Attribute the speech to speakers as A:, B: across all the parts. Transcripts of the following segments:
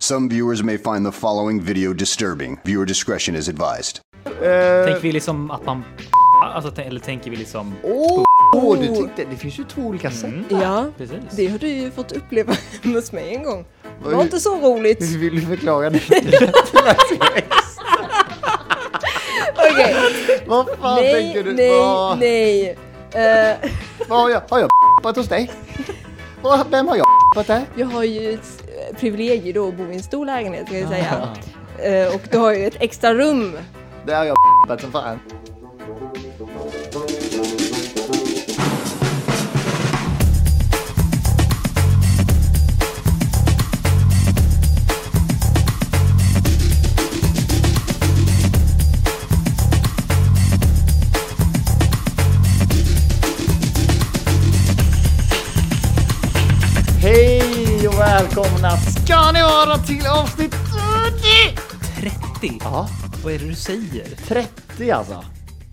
A: Some viewers may find the following video disturbing. Viewer discretion is advised.
B: Tänker vi liksom att man... Alltså, t- eller tänker vi liksom...
C: Åh, du tyckte, det finns ju två olika sätt.
D: Ja,
B: Precis.
D: det har du ju fått uppleva hemma hos mig en gång. Det var
C: Oj.
D: inte så roligt.
C: Hur vill du förklara det?
D: Okej,
C: Vad fan tänkte
D: nej,
C: du?
D: nej,
C: vad,
D: nej. Eh,
C: vad har jag, har jag p***at hos dig? Vad- Vem har jag p***at där?
D: jag har ju ett eh, privilegium då att bo i en stor lägenhet kan jag säga.
C: Ah.
D: Eh, och du har ju ett extra rum.
C: Där har jag p***at som fan. Hej och välkomna ska ni vara till avsnitt 30!
B: 30?
C: Ja.
B: Vad är det du säger?
C: 30 alltså.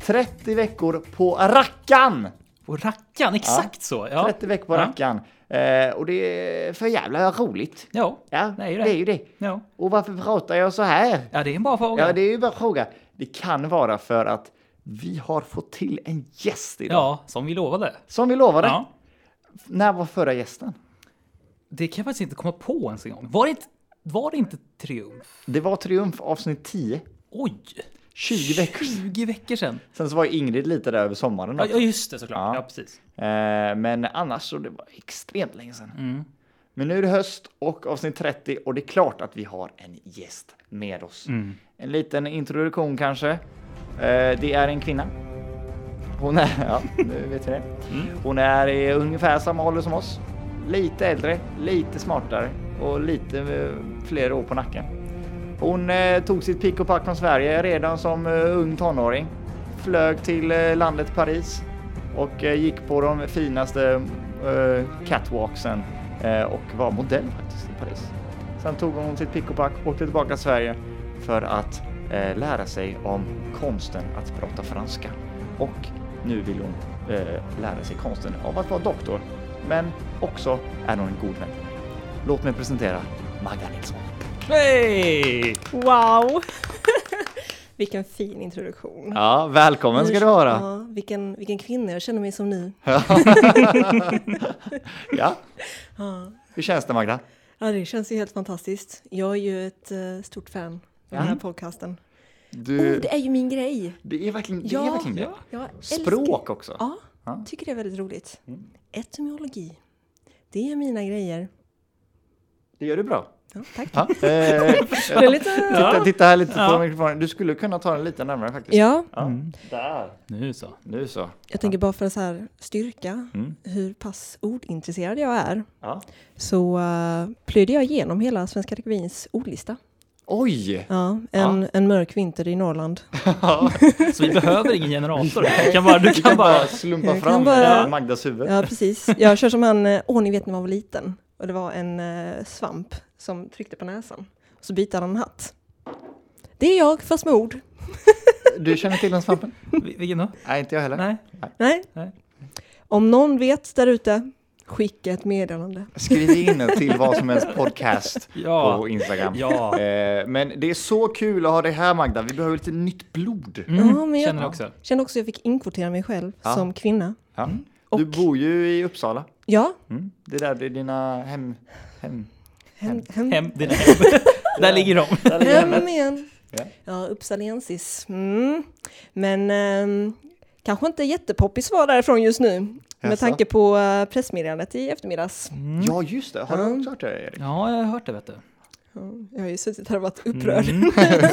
C: 30 veckor på rackan!
B: Och rackan, exakt så! Ja.
C: 30 veckor på
B: ja.
C: rackan. Eh, och det är för jävla roligt.
B: Ja,
C: Ja,
B: det är ju det.
C: ju det.
B: Ja.
C: Och varför pratar jag så här?
B: ja, det är en bra fråga.
C: Ja, det är ju bara en fråga. Det kan vara för att vi har fått till en gäst idag.
B: Ja, som vi lovade.
C: Som vi lovade.
B: Ja.
C: När var förra gästen?
B: Det kan jag faktiskt inte komma på ens en gång. Var det inte, var det inte Triumf?
C: Det var Triumf avsnitt 10.
B: Oj!
C: 20 veckor.
B: 20 veckor sedan.
C: Sen så var ju Ingrid lite där över sommaren. Då.
B: Ja, ja, just det såklart.
C: Ja.
B: Ja, precis.
C: Eh, men annars så det var extremt länge sedan.
B: Mm.
C: Men nu är det höst och avsnitt 30 och det är klart att vi har en gäst med oss. En liten introduktion kanske. Eh, det är en kvinna. Hon är, ja, nu vet vi det. Hon är i ungefär samma ålder som oss. Lite äldre, lite smartare och lite eh, fler år på nacken. Hon eh, tog sitt pick och pack från Sverige redan som eh, ung tonåring. Flög till eh, landet Paris och eh, gick på de finaste eh, catwalksen eh, och var modell faktiskt i Paris. Sen tog hon sitt pick och pack och åkte tillbaka till Sverige för att eh, lära sig om konsten att prata franska. Och nu vill hon eh, lära sig konsten av att vara doktor. Men också är hon en god vän. Låt mig presentera Magda Nilsson.
B: Hej!
D: Wow! vilken fin introduktion.
C: Ja, välkommen ska du vara.
D: Ja, vilken, vilken kvinna jag känner mig som nu.
C: Ja. Hur känns det Magda?
D: Ja, det känns ju helt fantastiskt. Jag är ju ett eh, stort fan av den här podcasten.
C: Du,
D: Oh, det är ju min grej!
C: det är verkligen det.
D: Ja.
C: är verkligen det.
D: Jag älskar-
C: Språk också.
D: Ja,
C: Ja. Mm.
D: tycker det är väldigt roligt. Etymologi. Det är mina grejer.
C: Det gör du bra.
D: Ja, tack.
C: Ja. Eh,
D: Det är lite...
C: titta, titta här lite på
B: Ja.
C: mikrofonen. Du skulle kunna ta den lite närmare faktiskt.
D: Ja,
C: Ja. Där.
B: Nu så.
C: Nu så.
D: jag tänker bara för att så här styrka
C: Mm.
D: hur pass ordintresserad jag är
C: Ja.
D: så uh, plöjde jag igenom hela Svenska Akademiens ordlista.
C: Oj!
D: Ja, en, en mörk vinter i Norrland.
B: Så vi behöver ingen generator. Du kan bara... Du
C: Du
B: kan bara...
C: slumpa
D: Jag kan
C: fram
D: bara-
C: Magdas huvud.
D: Ja, precis. Jag kör som han, eh, åh ni vet när man var liten. Och det var en eh, svamp som tryckte på näsan. Och så bytte han hatt. Det är jag, fast med ord.
C: Du känner till den svampen?
B: Vil- Vilken då?
C: Nej, inte jag heller.
B: Nej?
D: Nej.
B: Nej.
D: Om någon vet där ute, skicka ett meddelande.
C: Skriv in till vad som helst podcast
B: Ja.
C: på Instagram.
B: Ja.
C: Eh, men det är så kul att ha dig här Magda. Vi behöver lite nytt blod.
D: Ja, men jag-
B: Mm. Känner också.
D: Kände också att jag fick inkvotera mig själv
C: Ja.
D: som kvinna.
C: Ja.
D: Mm. Och-
C: Du bor ju i Uppsala.
D: Ja,
C: Mm. Det där det är dina hem... hem.
D: hem, hem, hem.
B: Hem, dina hem. Där ligger de.
D: igen.
C: Ja.
D: Ja, Uppsalensis. Mm. Men ehm, kanske inte jättepoppis svar därifrån just nu. Med
C: Jaså?
D: tanke på eh, pressmeddelandet i eftermiddags.
C: Ja, just det. Har du också hört det Erik?
B: Ja, jag har hört det vet du.
D: Jag har ju suttit här och varit upprörd.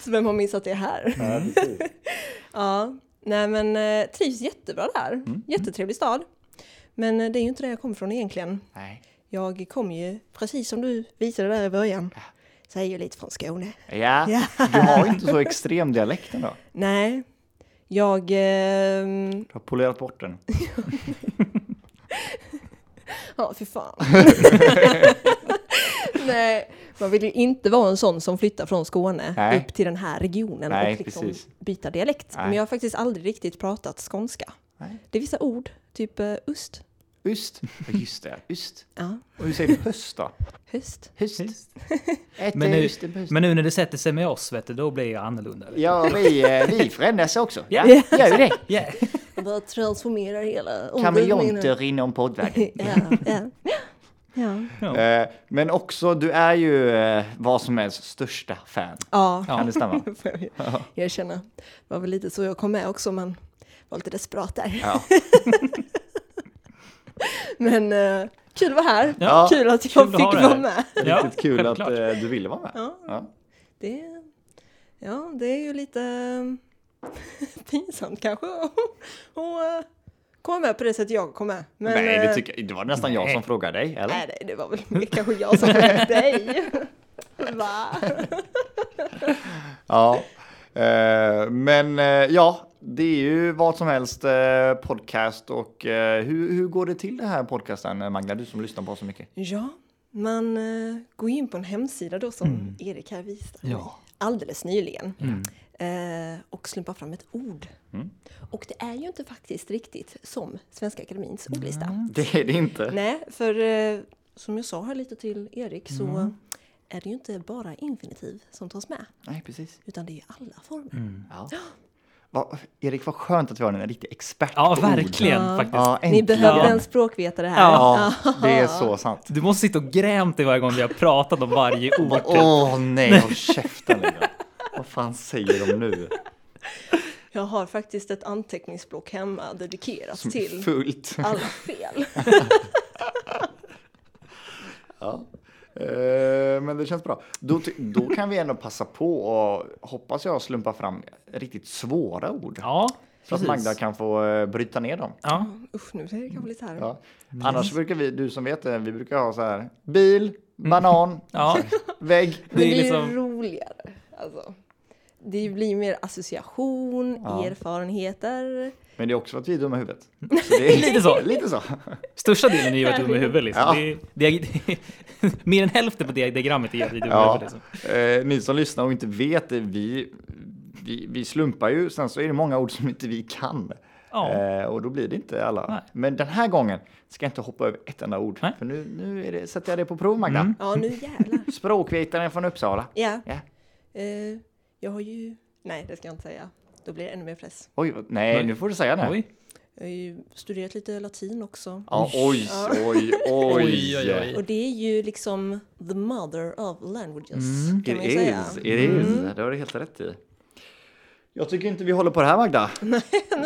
D: Så vem har missat det här? Ja, nej men eh, trivs jättebra där. Jättetrevlig stad. Men eh, det är ju inte där jag kommer från egentligen.
C: Nej.
D: Jag kom ju, precis som du visade där i början, så är jag ju lite från Skåne.
C: Ja.
D: Ja.
C: Du har ju inte så extrem dialekt ändå.
D: Nej, jag... ehm,
C: Du har polerat bort den.
D: Ja, för fan. Nej, man vill ju inte vara en sån som flyttar från Skåne
C: Nej.
D: upp till den här regionen
C: Nej,
D: och liksom
C: precis.
D: byta dialekt.
C: Nej.
D: Men jag har faktiskt aldrig riktigt pratat skånska.
C: Nej.
D: Det är vissa ord, typ eh, ost.
C: Öst. Ja, just det. Öst.
D: Ja,
C: Och hur säger du höst då?
D: höst.
C: Höst. Ett
B: Men nu,
C: höst, en höst.
B: men nu när det sätter sig med oss, vet du, då blir jag annorlunda. vet du.
C: Ja, vi, eh, vi förändras också.
B: Ja.
C: gör vi det.
B: Yeah.
D: Jag bara transformerar hela
C: Kameleonter inom poddvärlden.
D: Ja, ja. Ja.
C: Eh, men också, du är ju eh, vad som helst största fan.
D: ja.
C: Kan det stämma?
D: får jag ju erkänna. Det var väl lite så jag kom med också, men var lite desperat där.
C: Ja.
D: Men eh, kul att vara här.
B: Ja,
D: kul att jag
B: kul att
D: fick
B: ha det
D: vara
B: här.
D: med.
B: Ja,
C: Riktigt kul att
B: självklart.
C: eh, du ville vara med.
D: Ja.
C: Ja.
D: Det, ja, det är ju lite eh, pinsamt kanske att att, eh, komma med på det sättet jag kom med. Men,
C: Nej, det,
D: eh,
C: tycker jag, det var nästan jag som frågade dig, eller?
D: Nej, nej, det var väl mer kanske jag som hörde dig. Va?
C: Ja, eh, men eh, ja, det är ju vad som helst eh, podcast och eh, hur, hur går det till den här podcasten, eh, Magda, du som lyssnar på så mycket?
D: Ja, man eh, går in på en hemsida då som
C: Mm.
D: Erik här visade mig
B: Ja.
D: alldeles nyligen eh, och slumpar fram ett ord.
C: Mm.
D: Och det är ju inte faktiskt riktigt som Svenska Akademiens ordlista.
C: Det är det inte.
D: Nej, för eh, som jag sa här lite till Erik så
C: Mm.
D: är det ju inte bara infinitiv som tas med,
C: Nej, precis.
D: utan det är ju alla former.
C: Ja. Va, Erik, vad skönt att vi har en riktig expert
B: Ja,
C: på ord.
B: verkligen faktiskt.
C: Ja,
D: Ni
C: äntligen.
D: behöver en språkvetare här.
C: Ja, det är så sant.
B: Du måste sitta och grämt dig varje gång vi har pratat om varje ord.
C: Åh nej, håll käften Linda. Vad fan säger de nu?
D: Jag har faktiskt ett anteckningsblock hemma dedikerat
C: Som är
D: till
C: fullt.
D: alla fel.
C: Ja. Eh, Men det känns bra. Då, ty- då kan vi ändå passa på och hoppas jag slumpa fram riktigt svåra ord.
B: Ja,
C: så att
B: precis.
C: Magda kan få eh, bryta ner dem.
B: Ja,
D: Usch, nu är det kanske lite här.
C: Ja. Annars brukar vi, du som vet det, vi brukar ha så här bil,
B: Mm.
C: banan,
B: ja.
C: vägg.
D: Men det
B: Det
D: är
B: är
D: ju
B: liksom-
D: roligare. Alltså. Det blir mer association,
C: Ja.
D: erfarenheter.
C: Men det är också för att vi är dumma i huvudet. Så det är
B: Lite så.
C: Lite så.
B: Största delen är ju att du är med i huvudet liksom.
C: Ja.
B: Det, det, det, mer än hälften på diagrammet är att du är med i
C: Ja.
B: huvudet liksom.
C: Eh, ni som lyssnar och inte vet det, vi, vi, vi slumpar ju. Sen så är det många ord som inte vi kan.
B: Ja.
C: Eh, och då blir det inte alla.
B: Nej.
C: Men den här gången ska jag inte hoppa över ett enda ord.
B: Nej. Mm.
C: För nu, nu är det, sätter jag det på prov, Magda.
D: Ja, nu jävlar.
C: Språkvetaren från Uppsala.
D: Ja.
C: Ja.
D: Eh, jag har ju... Nej, det ska jag inte säga. Då blir det ännu mer press.
C: Oj, vad- nej,
B: Oj.
C: nu får du säga det.
B: Oj.
D: Jag har ju studerat lite latin också.
C: Ja, oj, oj, oj.
B: Oj, oj, oj.
D: Och det är ju liksom the mother of languages, kan
C: Mm, It
D: man ju säga. Mm.
C: is, it is. Det har du helt rätt i. Jag tycker inte vi håller på det här, Magda.
D: nu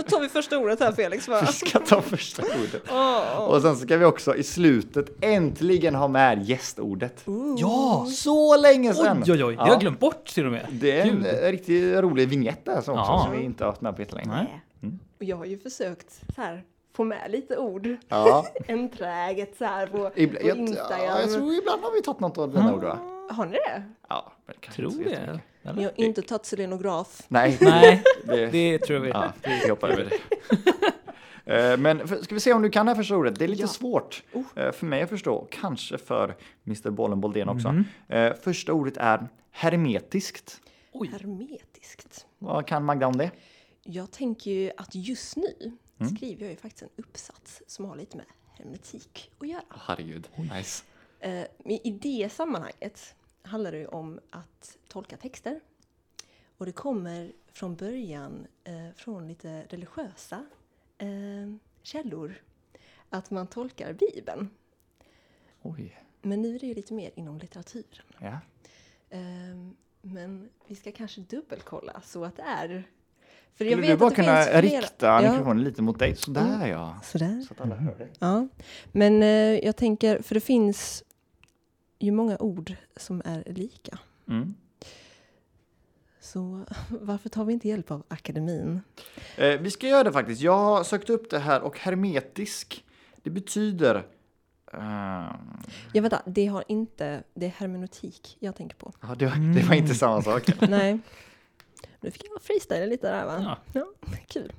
D: tar vi första ordet här, Felix. Va?
C: Vi ska ta första ordet.
D: Åh.
C: Och sen ska vi också i slutet äntligen ha med gästordet.
B: Ja!
C: Så länge sedan!
B: Oj, oj, oj. Jag har glömt bort till och med.
C: Det är en eh, riktigt rolig vignett där som, också,
B: Ja.
C: som vi inte har haft med på jättelänge.
B: Nej.
D: Och jag har ju försökt så här, få med lite ord.
C: Ja.
D: Enträget så här på,
C: Ibla-
D: på
C: jag, ja, jag
D: Instagram.
C: tror ibland har vi tagit något av dina ord va?
D: Har ni det?
C: Ja, men kanske
B: Tror
C: inte så jättemycket.
B: det.
D: Ni
B: Eller?
D: har inte tagit selenograf.
C: Nej,
B: Nej,
C: det,
B: det tror jag vi.
C: ja, vi hoppar över det. Eh, Men för, ska vi se om du kan det här första ordet? Det är lite svårt eh, för mig att förstå, kanske för Mr Bollen Boldén också. Eh, Första ordet är hermetiskt.
B: Oj.
D: Hermetiskt.
C: Vad kan Magda om det?
D: Jag tänker ju att just nu
B: Mm.
D: skriver jag ju faktiskt en uppsats som har lite med hermetik att göra.
C: Herregud, nice.
D: Eh, Men i det sammanhanget handlar det ju om att tolka texter. Och det kommer från början eh, från lite religiösa eh, källor. Att man tolkar Bibeln.
C: Oj,
D: Men nu är det ju lite mer inom litteraturen.
C: ja.
D: Ehm, Men vi ska kanske dubbelkolla så att det är... För
C: Skulle du bara
D: att det
C: kunna
D: finns flera-
C: rikta mikrofonen lite mot dig? Sådär ja.
D: Sådär.
C: Mm. Så att alla hör dig.
D: Ja. Men eh, jag tänker, för det finns ju många ord som är lika.
C: Mm.
D: Så varför tar vi inte hjälp av akademin?
C: Eh, vi ska göra det faktiskt. Jag har sökt upp det här och hermetisk, det betyder... ehm,
D: Ja, vänta, det har inte... Det är hermeneutik jag tänker på.
C: ja, det, var, det var inte samma sak.
D: Nej. Nu fick jag freestyla lite där, va?
B: Ja.
D: kul.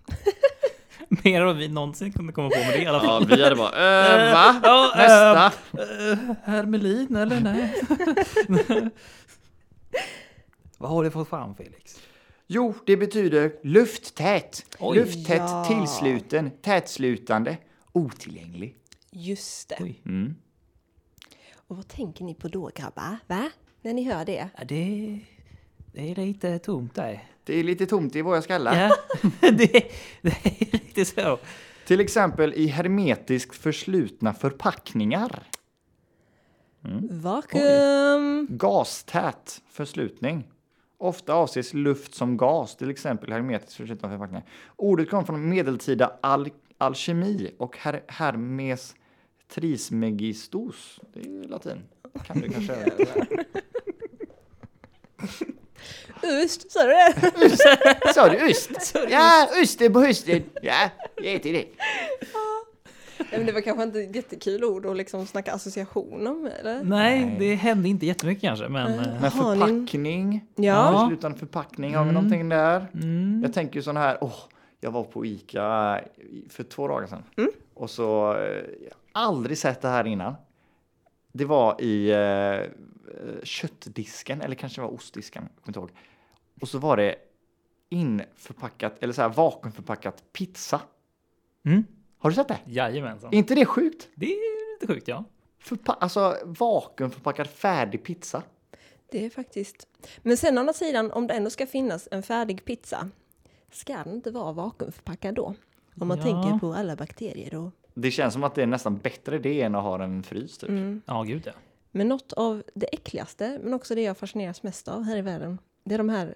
B: Mer än vad vi någonsin kunde komma på med det i alla fall.
C: vi hade bara, äh, va?
B: Ja, eh,
C: Nästa!
B: eh, Hermelin eller nej? Vad har du fått fram Felix?
C: Jo, det betyder lufttät, lufttätt
D: Ja.
C: tillsluten, tätslutande, otillgänglig.
D: Just det.
B: Oj.
D: Och vad tänker ni på då grabbar? Va? När ni hör det?
B: Ja, det, det är lite tomt där.
C: Det är lite tomt i våra skallar.
B: Ja, det, det är lite så.
C: Till exempel i hermetiskt förslutna förpackningar. Mm.
D: Vakuum!
C: Gastät förslutning. Ofta avses luft som gas, till exempel hermetiskt förslutna förpackningar. Ordet kom från medeltida al- alkemi och her- Hermes trismegistus. Det är ju latin. Kan du kanske översätta?
D: Ust, sa du det?
C: Sa du öst? Ja, öster på hösten. Ja, jag äter det.
D: Nej, men det var kanske inte ett jättekul ord att liksom snacka association om eller?
B: Nej, det hände inte jättemycket kanske, men... eh,
C: Men
D: Har ni en-
C: förpackning.
D: Ja.
C: Förslutande förpackning, har vi någonting där? Jag tänker ju sån här, åh, jag var på Ica i- för två dagar sedan. Och så, eh, jag har aldrig sett det här innan. Det var i eh, eh, köttdisken, eller kanske det var ostdisken, jag kommer inte ihåg. Och så var det införpackat, eller så här vakuumförpackat pizza.
B: Mm.
C: Har du sett det?
B: Jajamensan.
C: Är inte det sjukt?
B: Det är lite sjukt, ja.
C: Förpa- alltså vakuumförpackad färdig pizza.
D: Det är faktiskt... Men sen å andra sidan, om det ändå ska finnas en färdig pizza, ska den inte vara vakuumförpackad då? Om man
B: Ja.
D: tänker på alla bakterier och...
C: Det känns som att det är nästan bättre det än att ha en frys typ.
B: Ja, gud ja.
D: Men något av det äckligaste, men också det jag fascineras mest av här i världen, det är de här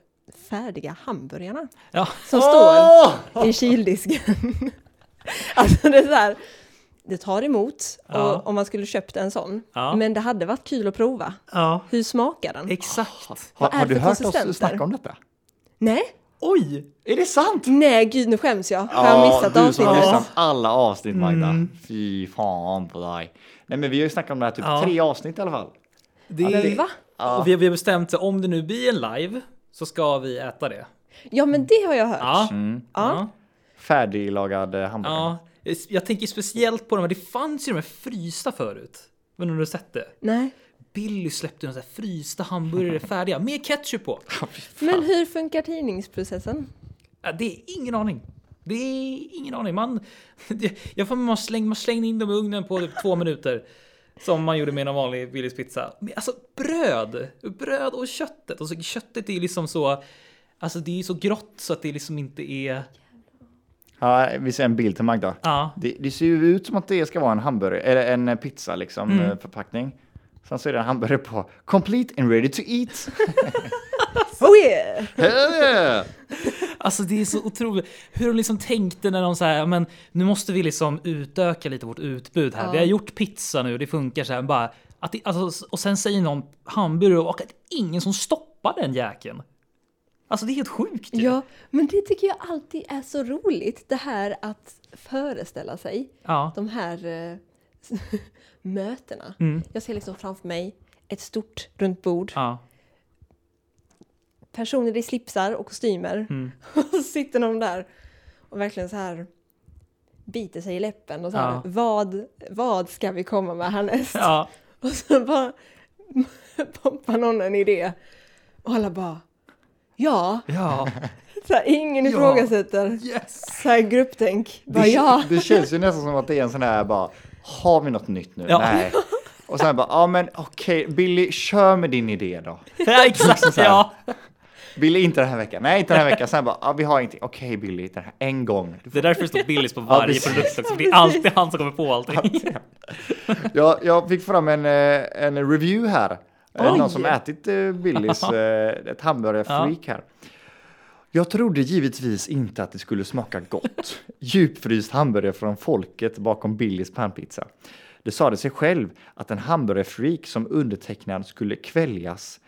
D: färdiga hamburgarna
B: Ja,
D: som står i kyldisken. alltså det är så här, det tar emot
B: Ja.
D: och, om man skulle köpt en sån.
B: Ja.
D: Men det hade varit kul att prova.
B: ja.
D: Hur smakar den?
B: exakt.
C: Har,
D: Vad är
C: har
D: det
C: du
D: för
C: hört
D: konsistenter?
C: oss snacka om detta?
D: Nej,
B: Oj!
C: Är det sant?
D: nej gud nu skäms Mm. jag. Har jag missat
C: du som har
D: avsnittet? Mm.
C: missat alla avsnitt Magda. Fy fan på dig. Nej men vi har ju snackat om det här typ
B: Ja.
C: tre avsnitt i alla fall.
B: Det
D: Men va?
B: Och vi, vi har bestämt att om det nu blir en live så ska vi äta det.
D: Ja men det har jag hört.
B: Ja.
D: Ja.
C: Färdiglagad eh, hamburgare.
B: ja. ja. Jag tänker speciellt på de här, det fanns ju de här frysta förut. Men om du har sett det?
D: Nej.
B: Billy släppte några så här frysta hamburgare färdiga med ketchup på.
D: Men hur funkar tidningsprocessen?
B: Ja, det är ingen aning. Det är ingen aning. Man, det, jag får man slängde, man slängde in dem i ugnen på typ två minuter. Som man gjorde med en vanlig Willys pizza. Men alltså bröd! Bröd och köttet. Och så, köttet är ju liksom så... Alltså det är ju så grått så att det liksom inte är...
C: Här, vi ser en bild till Magda.
B: Ja.
C: Det, det ser ju ut som att det ska vara en hamburgare, eller en eh, pizza liksom,
B: Mm.
C: eh, förpackning. Sen så är det en hamburgare på complete and ready to eat.
D: Oh yeah!
C: Eh,
B: Alltså det är så otroligt hur de liksom tänkte när de så här, "Ja, men nu måste vi liksom utöka lite vårt utbud här. Vi har gjort pizza nu, det funkar så här, bara att det, alltså, och sen säger någon hamburgare och att ingen som stoppar den jäkeln. Alltså det är helt sjukt ju.
D: Ja, men det tycker jag alltid är så roligt. Det här att föreställa sig
B: Ja.
D: de här eh, mötena. Jag ser liksom framför mig ett stort runt bord.
B: Ja.
D: Personer i slipsar och kostymer.
B: Mm.
D: Och så sitter de där och verkligen så här biter sig i läppen och så här,
B: Ja.
D: vad, vad ska vi komma med härnäst?
B: ja.
D: Och så bara pompar någon en idé. Och alla bara, ja,
B: Ja.
D: så här, ingen ifrågasätter. Så här grupptänk. Bara, ja.
C: Det känns ju nästan som att det är en sån här bara, har vi något nytt nu?
B: Ja.
C: Nej. Och sen bara, ja men okej, Billy, kör med din idé då.
B: ja, exakt.
C: så här.
B: Ja.
C: Billy, inte den här veckan. Nej, inte den här veckan. Sen bara, ah, vi har ingenting. Okej, Billy, den här en gång.
B: Det är därför det står Billys på varje
C: precis.
B: produkt också. för Det är alltid han som kommer på allting.
C: Jag, jag fick fram en, eh, en review här. Eh, Någon som ätit eh, Billys, eh, ett hamburgarfreak här. Jag trodde givetvis inte att det skulle smaka gott. Djupfryst hamburgare från folket bakom Billys pannpizza. Det sade sig själv att en hamburgarfreak som undertecknad skulle kväljas,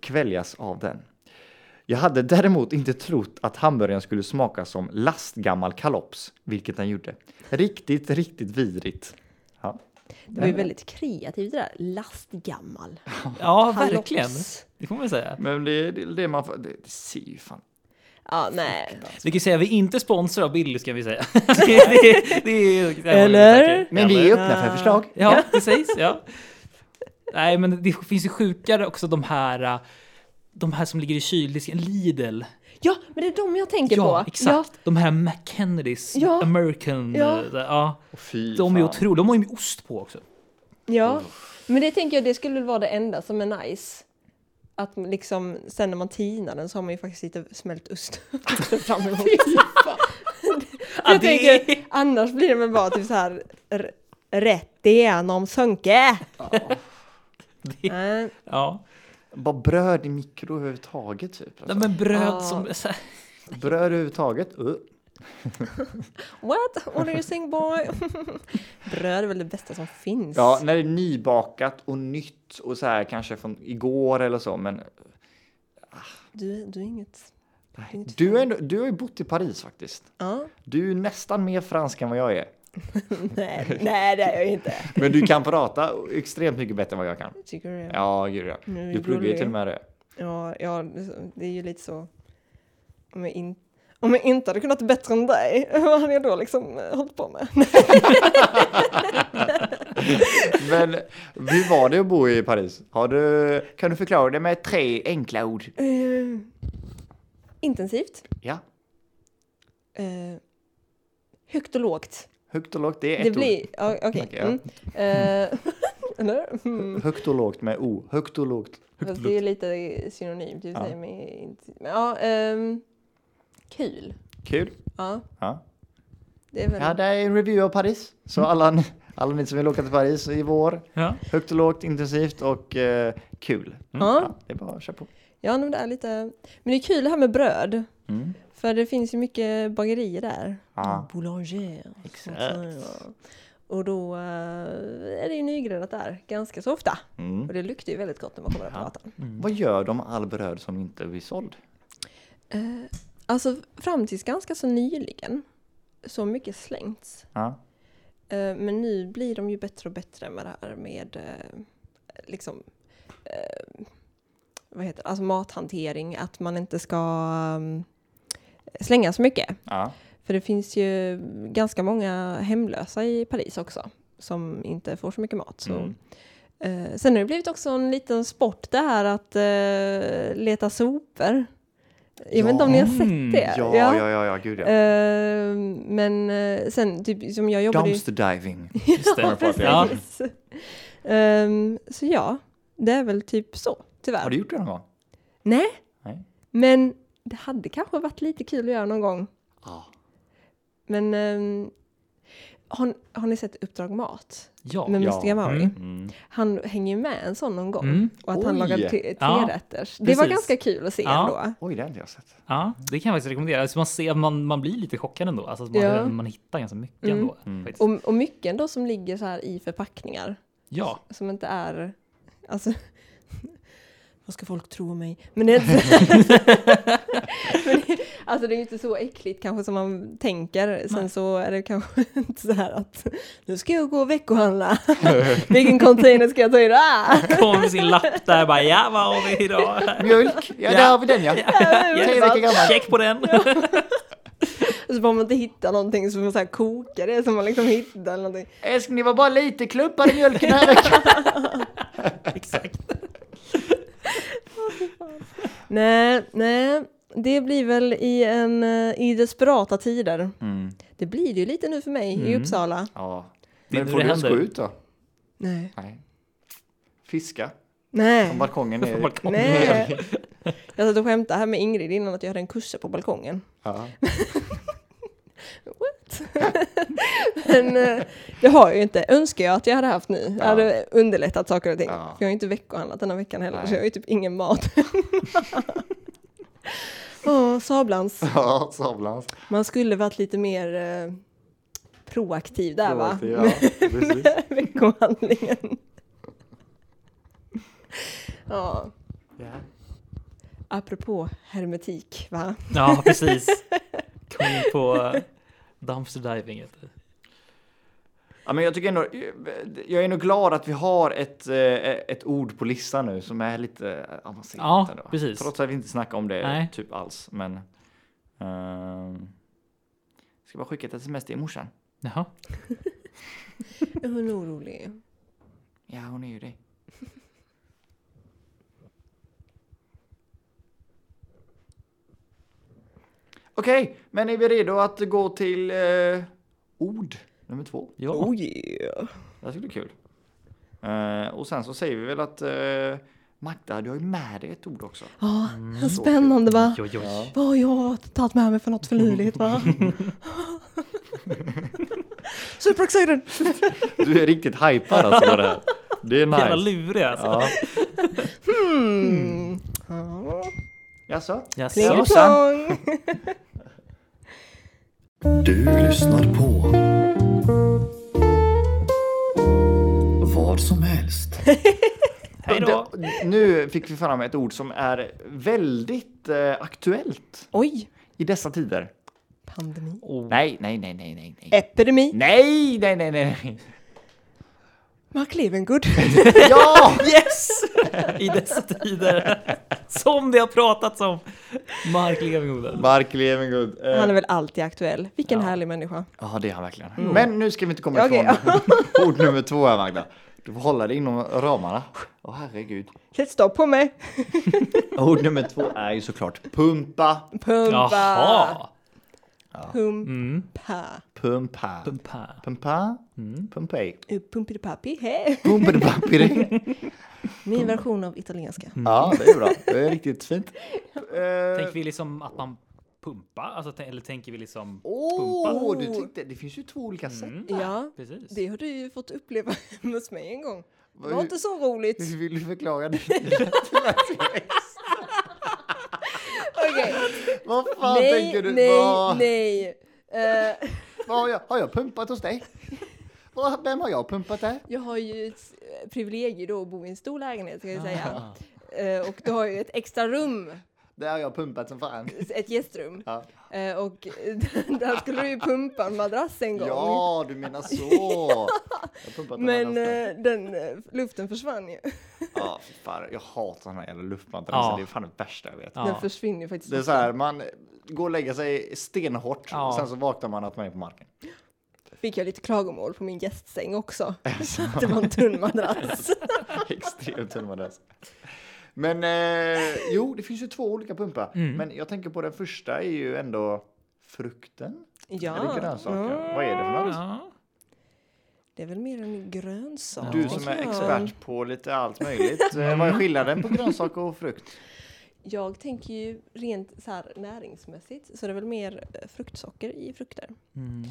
C: kväljas av den. Jag hade däremot inte trott att hamburgaren skulle smaka som lastgammal kalops, vilket den gjorde. Riktigt, riktigt vidrigt. Ja.
D: Det var ju väldigt kreativt det där. Lastgammal.
B: Ja,
D: Hallå.
B: verkligen. Det får man säga.
C: Men det är det, det man får, det, det ser ju fan.
D: Ja, nej.
B: Vi kan ju säga att vi är inte sponsrar av Billys kan vi säga. det, är- det är,
D: Eller?
C: Men vi är öppna för förslag.
B: Ja, precis. Ja. Nej, men det finns ju sjukare också de här äh, de här som ligger i kyldisken, Lidl.
D: Ja, men det är de jag tänker på.
B: Ja, exakt. De här McKennedys,
D: Ja.
B: American.
D: Ja.
B: eh, där, ja.
C: Åh, fy
B: De är
C: fan.
B: otroliga. De har ju ost på också.
D: Ja, ja. men det tänker jag, det skulle väl vara det enda som är nice. Att man liksom, sen när man tinar den så har man ju faktiskt lite smält ost fram emot.
B: Ja,
D: jag
B: det är-
D: tänker, annars blir det väl bara typ så här r- rätt igenom Eh, sönke.
C: Mm.
D: Nej.
B: Ja.
C: Bara bröd i mikro överhuvudtaget typ. Alltså.
B: Nej, men bröd
D: Ja.
B: som... Så här,
C: Bröd överhuvudtaget. Uh.
D: What? What are you saying boy? Bröd är väl det bästa som finns?
C: Ja, när det är nybakat och nytt och så här kanske från igår eller så, men
D: Du, du är inget...
C: nej. du, är, ändå- du har ju bott i Paris faktiskt.
D: Ja.
C: Du är nästan mer fransk än vad jag är.
D: Nej, nej, det är jag inte.
C: Men du kan prata extremt mycket bättre än vad jag kan.
D: Tycker du det?
C: Ja, gud ja.
D: Nu är
C: Du
D: det
C: pluggar ju
D: roligare.
C: till och med det.
D: Ja, ja, det är ju lite så. Om jag, in, om jag inte hade kunnat bättre än dig, vad hade jag då liksom eh, hållit på med?
C: Men hur var det att bo i Paris? Har du, kan du förklara det med tre enkla ord?
D: Eh, Intensivt,
C: Ja,
D: eh, högt och lågt.
C: högt och lågt, det är ett
D: det
C: ord.
D: blir, ja, okej.
C: Okej, ja.
D: mm. Eh, eller? Mm.
C: Högt och lågt med O. Högt och lågt.
D: Fast det är lite synonymt, i och för
C: Ja.
D: sig, men inte- men ja, ehm, kul.
C: Kul.
D: Ja,
C: Ja.
D: det är väl...
C: ja, det är en review av Paris.
D: Mm.
C: Så alla, ni- alla ni som vill åka till Paris i vår.
B: ja.
C: Högt och lågt, intensivt och eh, kul.
D: ja.
C: Ja, det är bara att köra på.
D: Ja, men det är lite... Men det är kul det här med bröd. För det finns ju mycket bagerier där.
C: Mm. Ja.
D: Boulanger. sånt
C: Exakt.
D: där, ja. Och då eh, är det ju nygräddat där ganska så ofta.
C: Mm.
D: Och det luktar ju väldigt gott när man kommer upp på
C: Ja.
D: gatan.
C: Vad gör de med all bröd som inte blir såld?
D: Eh, alltså fram tills ganska så nyligen så mycket slängts.
C: Ja.
D: Eh, men nu blir de ju bättre och bättre med det här med eh, liksom eh, vad heter det? Alltså mathantering, att man inte ska mm, slänga så mycket.
C: Ja.
D: För det finns ju ganska många hemlösa i Paris också som inte får så mycket mat. Så.
C: Mm.
D: Eh, sen har det blivit också en liten sport det här att eh, leta sopor. Jag
C: Ja.
D: vet inte om ni har
B: Mm,
D: sett det?
C: Ja, ja, ja, ja, gud ja.
D: Eh, men eh, sen, typ, som jag jobbade ju...
C: Dumpster diving.
B: Just det.
D: Ja,
B: Ja.
D: precis. Ehm, så ja, det är väl typ så, tyvärr.
C: Har du gjort det någon gång?
D: Nej,
C: Nej.
D: men det hade kanske varit lite kul att göra någon gång.
C: Ja.
D: Men ehm, har, har ni sett Uppdrag Mat
B: Ja.
D: med
C: Ja.
D: Mr Gamari?
B: Mm.
C: Mm.
D: Han hänger ju med en sån någon gång
B: Mm.
D: och att han
C: Oj.
D: lagar tre
B: Ja,
D: trerätters. det var
B: precis.
D: ganska kul att se
B: Ja.
D: ändå.
C: Oj, det har inte jag sett.
B: ja, det kan jag faktiskt rekommendera. Alltså man, ser, man, man blir lite chockad ändå. Alltså man,
D: Ja.
B: man hittar ganska mycket
D: Mm.
B: ändå.
C: Mm.
B: faktiskt.
D: Och, och mycket ändå som ligger så här i förpackningar
B: Ja.
D: som inte är, alltså, vad ska folk tro om mig? Men det är inte, men det, alltså det är ju inte så äckligt kanske som man tänker. Sen
B: Nej.
D: så är det kanske inte så här att nu ska jag gå och veckohandla. Vilken container ska jag ta Ah! idag?
B: Kom med sin lapp där bara ja, vad har vi idag?
C: Mjölk! Ja, där
B: Ja.
C: har vi den ja. Tre veckor gammal.
B: Check på den.
D: Och så får man inte hitta någonting så får man så här koka det som man liksom hittar eller någonting.
C: Älskling, det var bara lite klumpar i mjölken här veckan.
B: Exakt.
D: Nej, nej, det blir väl i, en, eh, i desperata tider.
C: Mm.
D: Det blir det ju lite nu för mig i Uppsala.
C: Ja.
B: Det är
C: Men
B: nu
C: får
B: det
C: du ens gå
B: händer.
C: ut då?
D: Nej.
C: Nej. Fiska.
D: Nej.
C: Från balkongen
B: På
C: är
B: balkongen.
D: Nej. Jag satt och skämtade här med Ingrid innan att jag hade en kusse på balkongen.
C: ja.
D: What? Men eh, det har jag ju inte. Önskar jag att jag hade haft nu. Det
C: Ja.
D: hade underlättat saker och ting.
C: Ja.
D: För jag har ju inte veckohandlat den här veckan heller.
C: Nej.
D: Så jag har ju typ ingen mat. Åh, sablans.
C: ja, sablans.
D: Man skulle varit lite mer eh, proaktiv där va?
C: Proaktiv, Ja, precis.
D: Veckohandlingen. ja,
C: Ja.
D: apropå hermetik va?
B: Ja, precis. Kom in på eh, dumpster diving. heter det.
C: Ja, men jag tycker ändå, jag är nog glad att vi har ett, eh, ett ord på listan nu som är lite avancerat.
B: Ja,
C: ändå.
B: precis.
C: Trots att vi inte snackar om det
B: Nej.
C: typ alls. Men, ehm, jag ska bara skicka ett sms till morsan.
B: Jaha.
D: Är Hon är orolig.
C: Ja, hon är ju det. Okej, men är vi redo att gå till eh, ord nummer två?
B: Ja.
E: Oh yeah.
C: Det här skulle bli kul. Eh, och sen så säger vi väl att eh, Magda, du har ju med dig ett ord också.
D: Ja, spännande va?
B: Oj, oj, oj.
D: Vad har jag tagit med mig för något finurligt va? Super excited!
C: Du är riktigt hypad alltså på det här. Det är
B: Jävla
C: nice.
B: lurig alltså.
C: Ja.
D: Hmm. Ja.
C: Jaså?
B: Jaså?
D: Plingelplong!
F: Du lyssnar på vad som helst.
B: Hej då.
C: Det- Nu fick vi fram ett ord som är väldigt eh, aktuellt
D: Oj!
C: i dessa tider.
D: Pandemi.
C: Nej, nej, nej, nej, nej, nej.
D: Epidemi.
C: Nej, nej, nej, nej, nej.
D: Mark Levengood.
C: Ja!
B: Yes! I dessa tider. Som det har pratats om. Mark Levengood.
C: Mark Levengood. Eh,
D: Han är väl alltid aktuell. Vilken härlig människa.
C: Ja, det är han verkligen. Men nu ska vi inte komma
D: Ja, okej.
C: ifrån ord nummer två här, Magda. Du får hålla dig inom ramarna. Åh, herregud.
D: Sätt stopp på mig!
C: Ord nummer två är ju såklart pumpa,
D: Pumpa!
B: Jaha!
C: pumpa,
D: Pumpa!
C: Mm.
B: Pumpa.
C: pumpa, pumpej.
D: Uh, Pumpidipappi, hej!
C: Pumpidipappi.
D: Min version av italienska.
C: Ja, det är bra. Det är riktigt fint.
B: Tänker vi liksom att man pumpar? Alltså, tän- eller tänker vi liksom...
C: Åh, oh, du tänkte, det finns ju två olika sätt.
D: Ja,
B: Precis.
D: det har du ju fått uppleva hemma hos mig en gång. Det
C: Vad-
D: var inte så roligt.
C: Hur vill du förklara det?
D: Okej.
C: Vad fan tänker du?
D: Nej, nej,
C: vad,
D: nej. Eh,
C: vad har, jag, har jag pumpat hos dig? Vad- Vem har jag pumpat där?
D: jag har ju ett eh, privilegium då att bo i en stor lägenhet ska jag säga.
C: Ah.
D: Eh, och du har ju ett extra rum,
C: Där har jag pumpat som fan.
D: ett gästrum.
C: Ja.
D: Eh, och där skulle du ju pumpa en madrass en gång.
C: Ja, du menar så! Jag pumpat en
D: Men
C: annan ställe.
D: eh, den eh, luften försvann ju.
C: Ja, fy fan, jag hatar den här jävla luftmadrassen.
B: Ja.
C: Det är fan det värsta jag vet.
B: Ja.
D: Den försvinner ju faktiskt.
C: Det är så här, man går och lägger sig stenhårt
B: Ja.
C: och sen så vaknar man att man är på marken.
D: Fick jag lite klagomål på min gästsäng också. att det var en tunn madrass.
C: Extremt tunn madrass. Men eh, jo, det finns ju två olika pumpar.
B: Mm.
C: Men jag tänker på den första är ju ändå frukten. Eller
D: ja,
C: grönsaker. Vad är det för något?
B: Ja.
D: det är väl mer en grönsak.
C: Du som är
D: Ja.
C: expert på lite allt möjligt. eh, Vad är skillnaden på grönsak och frukt?
D: Jag tänker ju rent så här näringsmässigt så det är väl mer eh, fruktsocker i frukter. Mm.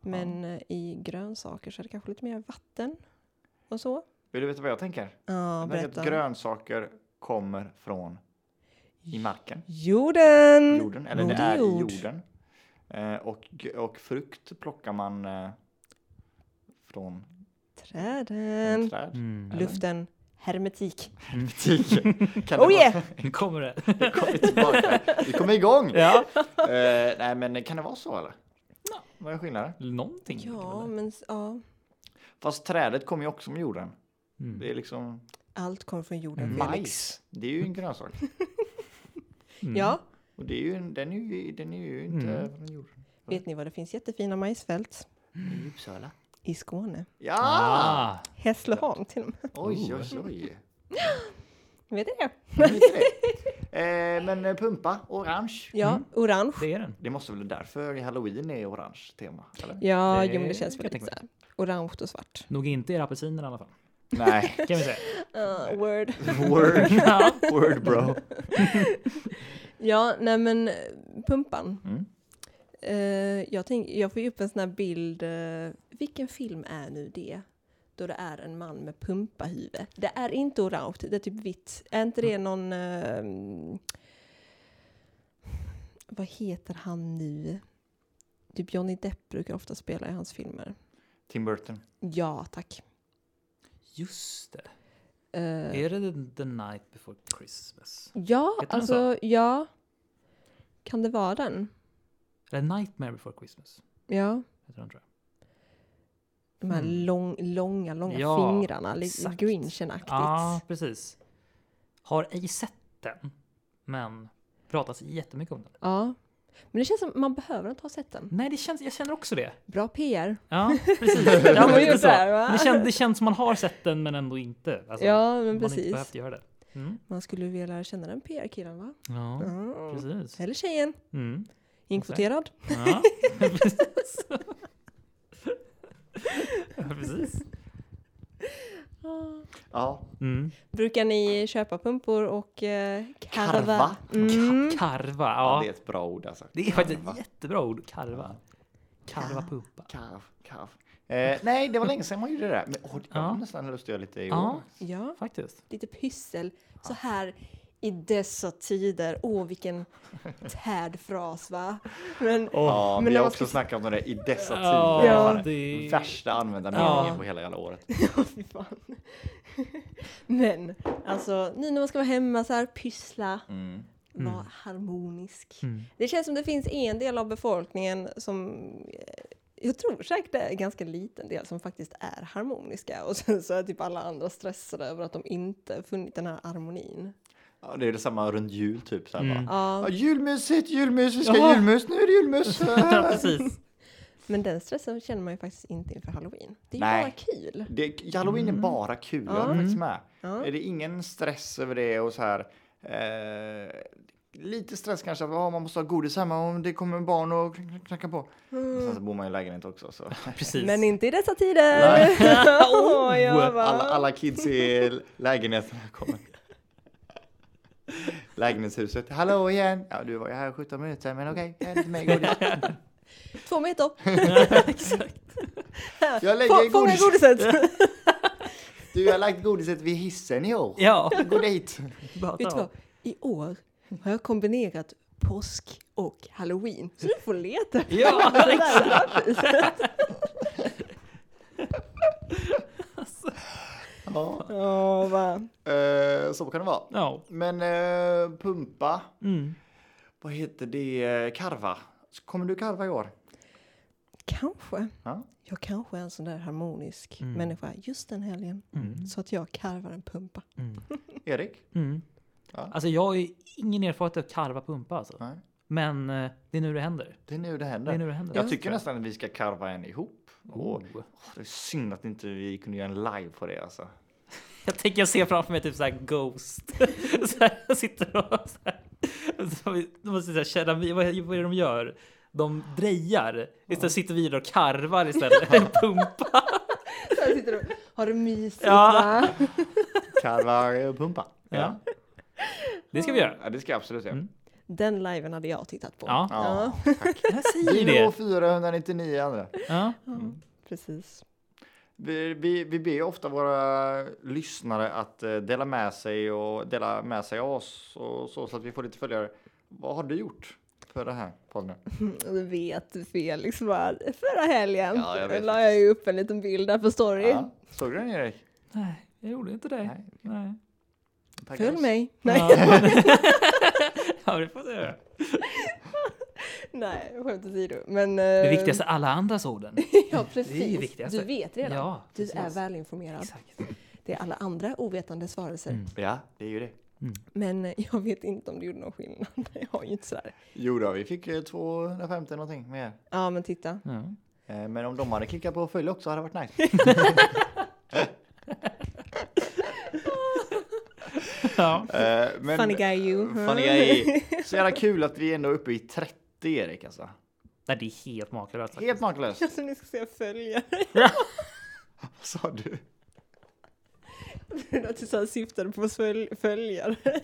D: Men eh, i grönsaker så är det kanske lite mer vatten och så.
C: Vill du veta vad jag tänker?
D: Ja,
C: jag tänker
D: berätta.
C: att grönsaker kommer från i marken.
D: Jorden!
C: jorden, eller det
D: Mm. Moder
C: är i
D: jord.
C: jorden. Eh, och, och frukt plockar man eh, från
D: Träden!
C: träd.
B: Mm.
C: eller?
D: Luften! Hermetik!
C: Kan det
D: mm. Oh yeah!
B: Nu kommer det.
C: vara- kommer vi tillbaka. Vi kommer igång!
B: Ja.
C: Eh, nej, men kan det vara så eller? Vad är skillnaden?
B: Någonting.
D: Ja, men s- ja.
C: Fast trädet kommer ju också med jorden. Det är liksom
D: Allt kommer från jorden, Felix.
C: majs. Det är ju en grönsak. Mm.
D: Ja,
C: Och det är ju, en- den, är ju, den är ju inte
B: Mm.
C: från jorden.
D: vet ni vad det finns jättefina majsfält?
C: I Uppsala.
D: I Skåne.
C: Ja!
B: Ah. Oh.
D: Hässleholm till och med.
C: Oj, oj, oj.
D: Vet ni det?
C: Men inte det. Eh, men eh, pumpa, orange.
D: Ja,
B: Mm.
D: orange.
B: Det är den.
C: Det måste väl därför halloween är orange tema? Eller?
D: Ja,
B: Det
D: jo, men det
B: kan
D: känns
B: jag
D: väl lite
B: tänka
D: så här. Orange och svart.
B: Nog inte era apelsiner i alla fall.
C: Nej.
B: Kan vi säga.
D: Uh, word.
C: Word. Word bro.
D: Ja, nej men eh, pumpan.
C: Mm.
D: Eh, jag, tänk, jag får ju upp en sån här bild. eh, vilken film är nu det? Då det är en man med pumpahuvud. Det är inte orange, det är typ vitt. Är inte det någon... eh, mm, vad heter han nu? Typ Johnny Depp brukar ofta spela i hans filmer.
C: Tim Burton.
D: Ja, tack.
B: Just det.
D: Eh,
B: Är det the, the night before Christmas?
D: Ja,
B: Heter den
D: alltså ja. Kan det vara den?
B: Eller nightmare before Christmas?
D: Ja.
B: Heter den, tror jag.
D: De här lång, långa, långa
B: Mm. Ja,
D: fingrarna. Lite
B: exakt.
D: Grinchen-aktigt.
B: Ja, precis. Har ej sett den, men pratas jättemycket om den.
D: Ja. Men det känns som man behöver inte ha sett den.
B: Nej, det känns, jag känner också det.
D: Bra PR.
B: Ja, precis. Det,
D: Ja, men
B: lite
D: just
B: så.
D: det här, va?
B: Men det, känns, det känns som man har sett den, men ändå inte. Alltså,
D: Ja, men
B: man har
D: precis.
B: inte behövt göra det. Mm.
D: Man skulle vilja lära känna den PR-killen va?
B: Ja, precis.
D: Eller tjejen.
B: Mm.
D: Inkvoterad.
B: Ja. Ja, Precis.
C: Ja.
B: Mm.
D: Brukar ni köpa pumpor och eh, karva?
C: Karva.
D: Mm.
B: Karva,
C: ja,
B: ja.
C: det är ett bra ord alltså.
B: Det är faktiskt
C: Karva.
B: ett jättebra ord. Karva. Karva pumpa.
C: Karv, karv. Eh, nej, det var länge sedan man gjorde det där. Men åh, det var
B: Ja.
C: nästan lust att göra lite i
B: Ja.
C: år.
D: Ja,
B: Faktiskt.
D: lite pyssel så här i dessa tider. Åh, vilken tärd fras va? Men
C: Ja,
D: Men
C: vi
D: det
C: har
D: var
C: också
D: spe-
C: snackat om det i dessa tider.
B: Ja,
C: Det var
B: det-
C: den Värsta användarmeningen
B: Ja.
C: på hela jävla året.
D: Åh, fy fan. Men alltså, nu när man ska vara hemma så här, pyssla,
C: Mm.
D: vara harmonisk. Det känns som det finns en del av befolkningen som eh, jag tror säkert det är en ganska liten del som faktiskt är harmoniska och sen så är typ alla andra stressade över att de inte funnit den här harmonin.
C: Ja, det är detsamma runt jul typ. Så här, bara,
D: Ja,
C: ja, julmysigt, julmys, vi ska
B: Ja.
C: ha julmys, nu är det julmys.
B: Ja, precis.
D: men den stressen känner man ju faktiskt inte inför halloween. Det är ju
C: Nej.
D: bara kul.
C: Det, halloween är bara kul, jag håller faktiskt med. Är det ingen stress över det och så här. Eh, lite stress kanske, att ah, man måste ha godis hemma om det kommer barn och knack- knack- knackar på. Sen så bor man i lägenhet också. Så.
B: precis.
D: Men inte i dessa tider! Åh, jag bara-
C: Oh. Alla, alla kids i lägenheten kommer. Lägenhetshuset. Hallå igen! Ja, du var ju här i 17 minuter, men okej. Okay, lite mer godis.
D: Två meter upp!
B: Exakt.
C: Jag lägger
D: Få- Fånga
C: godis.
D: godiset!
C: Du jag har lagt godiset vid hissen i år.
B: Ja.
C: Gå dit!
B: Bara
D: Vet du
B: ta.
D: vad? I år har jag kombinerat påsk och halloween. Så du får leta efter
B: Ja,
D: det där lapphuset.
C: Ja.
D: Ja, va.
C: Eh, så kan det vara.
B: Ja.
C: Men eh, pumpa,
B: Mm.
C: vad heter det, karva? Kommer du karva i år?
D: Kanske.
C: Ja.
D: Jag kanske är en sån där harmonisk människa just den helgen. Så att jag karvar en pumpa.
C: Erik?
B: Mm.
C: Ja.
B: Alltså jag har ju ingen erfarenhet av karva pumpa alltså.
C: Nej.
B: Men eh, det är nu det händer.
C: Det är nu det händer.
B: Det är nu det händer.
C: Jag tycker nästan att vi ska karva en ihop. Och,
B: Oh.
C: åh, det är synd att inte vi kunde göra en live på det alltså.
B: Jag tänker jag ser framför mig typ såhär Ghost. så här, jag sitter och så här, så vi- de måste säga keramik, vad, vad är det de gör? De drejar. Istället sitter vi där och karvar istället. En pumpa.
D: Där sitter du. Har du mysigt
B: Ja.
D: va?
C: Karva eh, pumpa.
B: Ja. Det ska vi göra. Mm.
C: ja, det ska jag absolut göra.
D: Den liven hade jag tittat på.
B: Ja,
C: Ja.
B: jag säger
C: Vi når
B: det.
C: 499 andra.
B: Ja.
D: Precis.
C: Vi, vi, vi ber ju ofta våra lyssnare att eh, dela med sig och dela med sig av oss och så, så att vi får lite följare. Vad har du gjort för det här podden?
D: Och Du vet Felix vad förra helgen
C: Ja, jag vet
D: la jag ju upp en liten bild där på story.
C: Ja, såg du den Erik?
B: Nej, jag gjorde inte det.
C: Nej.
B: Nej.
C: Tackar
D: Följ
C: oss.
D: mig. Nej.
B: Ja. ja, det får du göra.
D: Nej, skämt åsido. Men,
B: Det
D: eh,
B: viktigaste är alla andras orden.
D: Ja, precis.
B: Det är ju viktigaste.
D: Du vet redan.
B: Ja,
D: du
B: precis.
D: är välinformerad.
B: Exakt. Mm.
D: Det är alla andra ovetande svarelser.
C: Ja, det är ju det.
D: Men eh, jag vet inte om det gjorde någon skillnad. Jag har ju inte sådär.
C: Jo då, vi fick eh, 250 någonting mer.
D: Ja, men titta.
B: Ja.
C: Eh, Men om de hade klickat på följ också hade det varit nice.
B: Ja.
C: Eh, Men, Mm-hmm.
D: Funny guy you.
C: Funny guy. Så jävla kul att vi ändå är uppe i 30 Erik alltså.
B: Nej, det är helt makalöst. faktiskt.
C: Helt makalöst.
D: Jag tror Alltså, ni ska se följare.
C: Vad sa du?
D: Att du såhär syftade på följ- följare.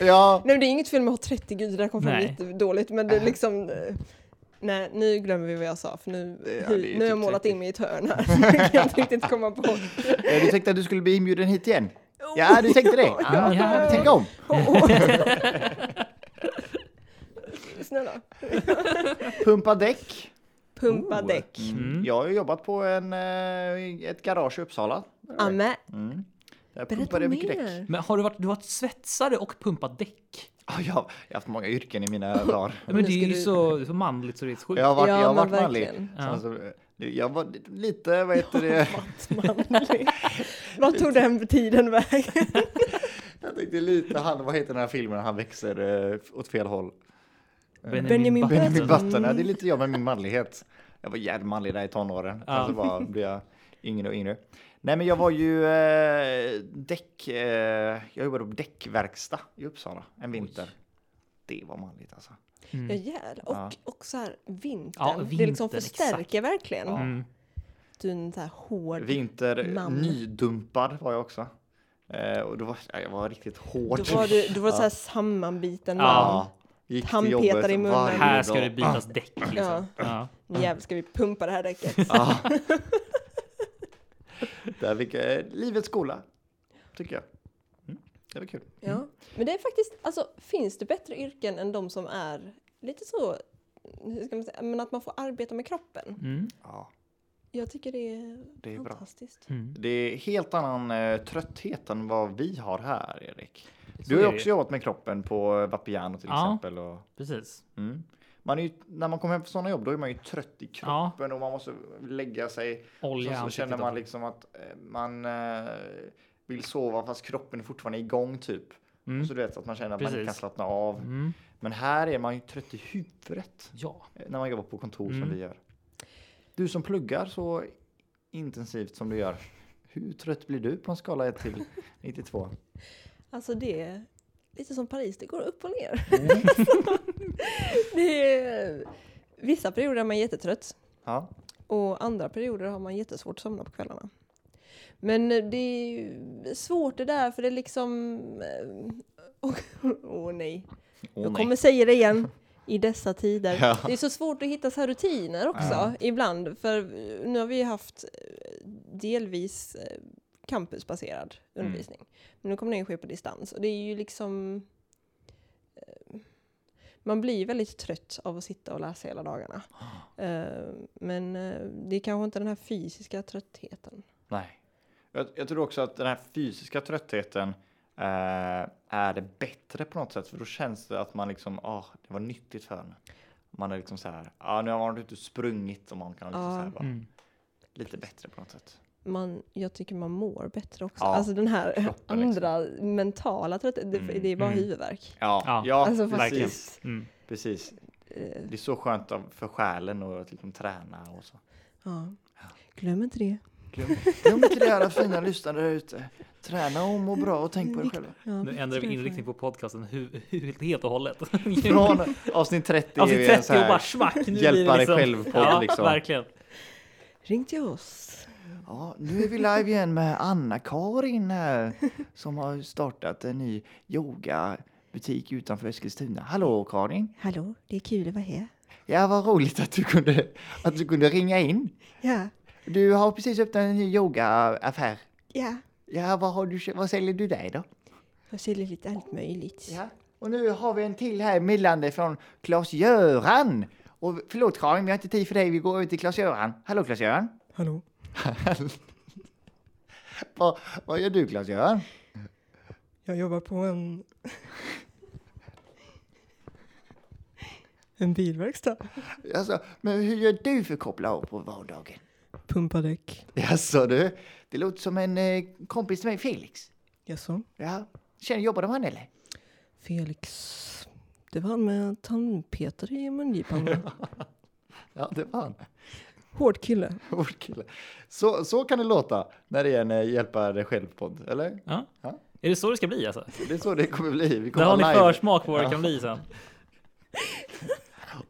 C: Ja,
D: Nej men det är inget fel med att ha 30, gud det där kom fram
B: Nej.
D: jättedåligt. Men det är liksom... eh, Nej, nu glömmer vi vad jag sa för nu,
C: Ja, det är
D: nu,
C: ju
D: nu har jag
C: typ
D: målat
C: 30.
D: in mig i ett hörn här. Så jag kan inte riktigt komma på.
C: eh, du tänkte att du skulle bli inbjuden hit igen? Ja, du tänkte det? Ja,
B: Ja.
C: Tänk om!
D: Snälla.
C: Pumpa däck.
D: Pumpa däck.
B: Mm.
C: Jag har ju jobbat på en, eh, ett garage i Uppsala.
D: Amen.
C: Där pumpade
D: Berätta
C: jag mycket däck.
D: mer.
B: Men har du varit, du har varit svetsare och pumpat däck?
C: Ja, jag, jag har haft många yrken i mina dagar.
B: Men det
D: ska
B: är ju
D: du-
B: så, så manligt så det är sjukt.
C: Jag har varit,
D: Ja,
C: jag har
D: men
C: varit manlig.
D: verkligen.
C: Sen så, eh, jag var lite, vad heter det?
D: Manlig. Vad tog den tiden vägen?
C: Jag tänkte lite han, vad heter den här filmen när han växer eh, åt fel håll?
D: Benjamin
B: Button.
C: Benjamin
D: Alltså,
C: Button, ja, det är lite jag med min manlighet. Jag var jävligt manlig där i tonåren.
B: Ja.
C: Sen så bara blev jag yngre och yngre. Nej men jag var ju eh, däck, eh, jag jobbade på däckverkstad i Uppsala en vinter. det var manligt alltså.
D: Ja, jävlar. Och, och så här vintern.
B: Ja,
D: det liksom
B: vintern,
D: förstärker verkligen.
B: Mm.
D: Du är en så här hård.
C: Vinter, eh,
D: Man.
C: nydumpad var jag också. Eh, och då var, ja, jag var riktigt hård.
D: Då var du, du var så här sammanbiten man.
B: Ja.
C: Gick till
D: tandpetare
C: jobbet
D: i munnen.
C: varje
B: Här ska
C: dag.
B: det bytas däck liksom.
D: Ja.
B: Ja.
D: Nu jävlar ska vi pumpa det här däcket.
C: Där fick jag eh, livets skola, tycker jag. Mm, det var kul.
D: Ja. Men det är faktiskt, alltså finns det bättre yrken än de som är lite så, hur ska man säga, men att man får arbeta med kroppen.
B: Mm.
C: Ja,
D: Jag tycker det är,
C: det är bra.
D: fantastiskt.
C: Det är helt annan eh, trötthet än vad vi har här, Erik.
B: Så
C: Du har
B: är
C: ju
B: det
C: också
B: ju.
C: jobbat med kroppen på Vapiano till
B: Ja.
C: exempel. Och,
B: Precis.
C: mm. man är ju, när man kommer hem från sådana jobb, då är man ju trött i
B: Ja.
C: kroppen och man måste lägga sig.
B: Olja i
C: och så
B: ansiktet
C: känner man
B: också.
C: liksom att eh, man eh, vill sova fast kroppen är fortfarande igång typ.
B: Mm.
C: Och så du vet att man känner att man inte kan
B: Precis.
C: slappna av.
B: Mm.
C: Men här är man ju trött i huvudet
B: Ja.
C: eh, när man jobbar på kontor
B: Mm.
C: som vi gör. Du som pluggar så intensivt som du gör, hur trött blir du på en skala 1 till 92?
D: Alltså det är lite som Paris, det går upp och ner.
C: Mm.
D: det är, vissa perioder är man jättetrött
C: Ja,
D: och andra perioder har man jättesvårt att somna på kvällarna. Men eh, det är ju svårt det där för det är liksom... Åh åh, nej, jag kommer säga det igen. I dessa tider.
C: Ja.
D: Det är så svårt att hitta så här rutiner också ibland. För eh, nu har vi haft eh, delvis eh, campusbaserad undervisning. Men nu kommer den ju ske på distans. Och det är ju liksom... eh, Man blir ju väldigt trött av att sitta och läsa hela dagarna. Eh, Men eh, det är kanske inte den här fysiska tröttheten.
C: Nej. Jag, jag tror också att den här fysiska tröttheten eh, är det bättre på något sätt. För då känns det att man liksom, ah, det var nyttigt för en. Man är liksom så här, ah, nu har man inte sprungit och man kan liksom
D: Ja.
C: så här, bara,
B: Mm.
C: lite bättre på något sätt.
D: man, jag tycker man mår bättre också.
C: Ja,
D: alltså den här
C: kroppen liksom.
D: andra mentala tröttheten, det, det är bara
B: Mm.
D: huvudvärk.
C: Ja, ja,
B: Ja,
D: alltså
C: precis.
B: verkligen. Mm.
C: precis.
D: Eh,
C: Det är så skönt av- för själen och att liksom träna och så.
D: ja. Glöm inte det.
C: Glöm, glöm inte det alla fina lyssnare där ute. Träna och må bra och tänk på er själva.
D: Ja,
B: Nu ändrar vi
D: tror jag.
B: inriktning på podcasten hu- hu- helt och hållet.
C: Från avsnitt 30
B: Alltså
C: är vi en
B: 30
C: så
B: och
C: här,
B: bara smack. Nu blir det
C: hjälpa dig
B: liksom-
C: själv-podd,
B: Ja,
C: liksom.
B: verkligen.
D: Ring till oss.
C: Ja, nu är vi live igen med Anna-Karin här som har startat en ny yogabutik utanför Eskilstuna. Hallå Karin!
D: Hallå, det är kul att vara här.
C: Ja, vad roligt att du kunde, att du kunde ringa in.
D: Ja,
C: Du har precis öppnat en ny yogaaffär.
D: ja.
C: Ja, vad, har du, kö- vad säljer du där då?
D: Jag säljer lite allt möjligt.
C: Ja, och nu har vi en till här mellan dig från Klas-Göran. Och förlåt Karin, vi har inte tid för dig. Vi går över till Klas-Göran. Hallå Klas-Göran!
D: Hallå?
C: Vad, vad gör du Klas-Göran?
D: Jag jobbar på en... en bilverkstad.
C: Alltså, men hur gör du för att koppla av på vardagen?
D: Pumpa däck.
C: Jaså du, det låter som en eh, kompis till mig, Felix.
D: Jaså?
C: Ja. Känner, jobbade han eller?
D: Felix. Det var han med tandpetare i mungipan.
C: Ja, det var han.
D: Hård kille.
C: Hård kille. Så, så kan det låta när det är en eh, hjälpa dig själv-podd, eller?
B: Ja.
C: Ja.
B: Är det så det ska bli alltså?
C: Det är så det kommer bli. Vi
B: Där
C: kommer
B: har ni
C: ha live.
B: försmak på vad det kan bli sen.